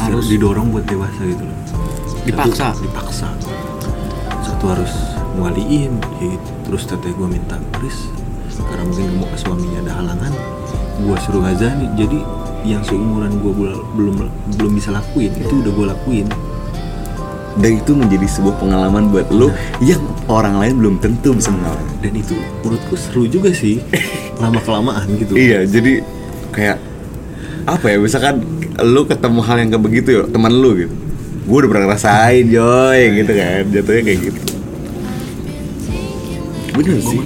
[SPEAKER 5] harus didorong buat dewasa gitu loh Satu,
[SPEAKER 3] Dipaksa.
[SPEAKER 5] dipaksa ya satu harus ngaliin gitu terus teteh gue minta Chris karena mungkin mau suaminya ada halangan gua suruh azan jadi yang seumuran gua, gua belum belum bisa lakuin itu udah gua lakuin
[SPEAKER 1] dan itu menjadi sebuah pengalaman buat lo yang orang lain belum tentu bisa mengalami
[SPEAKER 5] dan itu menurutku seru juga sih lama kelamaan gitu
[SPEAKER 1] iya jadi kayak apa ya misalkan lo ketemu hal yang kayak begitu ya teman lo gitu gue udah pernah ngerasain joy gitu kan jatuhnya kayak gitu bener sih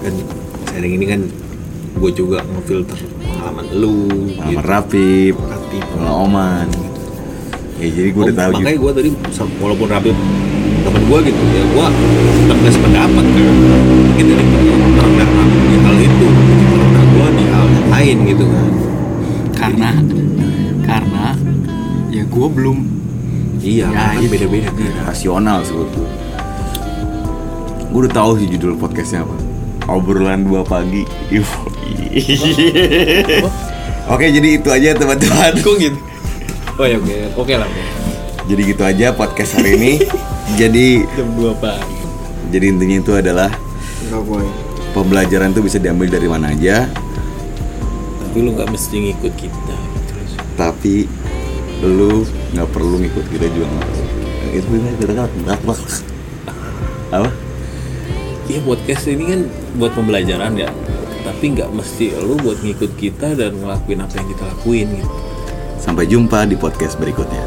[SPEAKER 5] kan sering ini kan gue juga ngefilter pengalaman lu gitu.
[SPEAKER 1] pengalaman Rapip,
[SPEAKER 5] Rapi.
[SPEAKER 1] pengalaman Oman ya jadi gue udah
[SPEAKER 5] Oh,
[SPEAKER 1] tahu
[SPEAKER 5] makanya
[SPEAKER 1] gitu
[SPEAKER 5] gue tadi sam- walaupun rapi temen gue gitu ya gue tetap gak sependapat kan mungkin dari pernah rapi di hal itu gitu. pernah gue di hal yang lain gitu kan
[SPEAKER 3] karena karena ya gue belum
[SPEAKER 5] iya
[SPEAKER 3] Ya,
[SPEAKER 5] kan
[SPEAKER 3] gitu.
[SPEAKER 5] beda-beda kan
[SPEAKER 1] rasional sebetulnya gue udah tahu sih judul podcastnya apa obrolan dua pagi Yoi. oke jadi itu aja teman-teman
[SPEAKER 5] gitu oh ya oke oke lah oke.
[SPEAKER 1] jadi gitu aja podcast hari ini jadi
[SPEAKER 5] jam dua pagi
[SPEAKER 1] jadi intinya itu adalah
[SPEAKER 4] Enggak boy.
[SPEAKER 1] pembelajaran itu bisa diambil dari mana aja
[SPEAKER 5] tapi lu gak mesti ngikut kita gitu.
[SPEAKER 1] tapi lu nggak perlu ngikut kita juga nggak perlu itu benar benar apa
[SPEAKER 5] Iya podcast ini kan buat pembelajaran ya tapi nggak mesti lu buat ngikut kita dan ngelakuin apa yang kita lakuin gitu
[SPEAKER 1] sampai jumpa di podcast berikutnya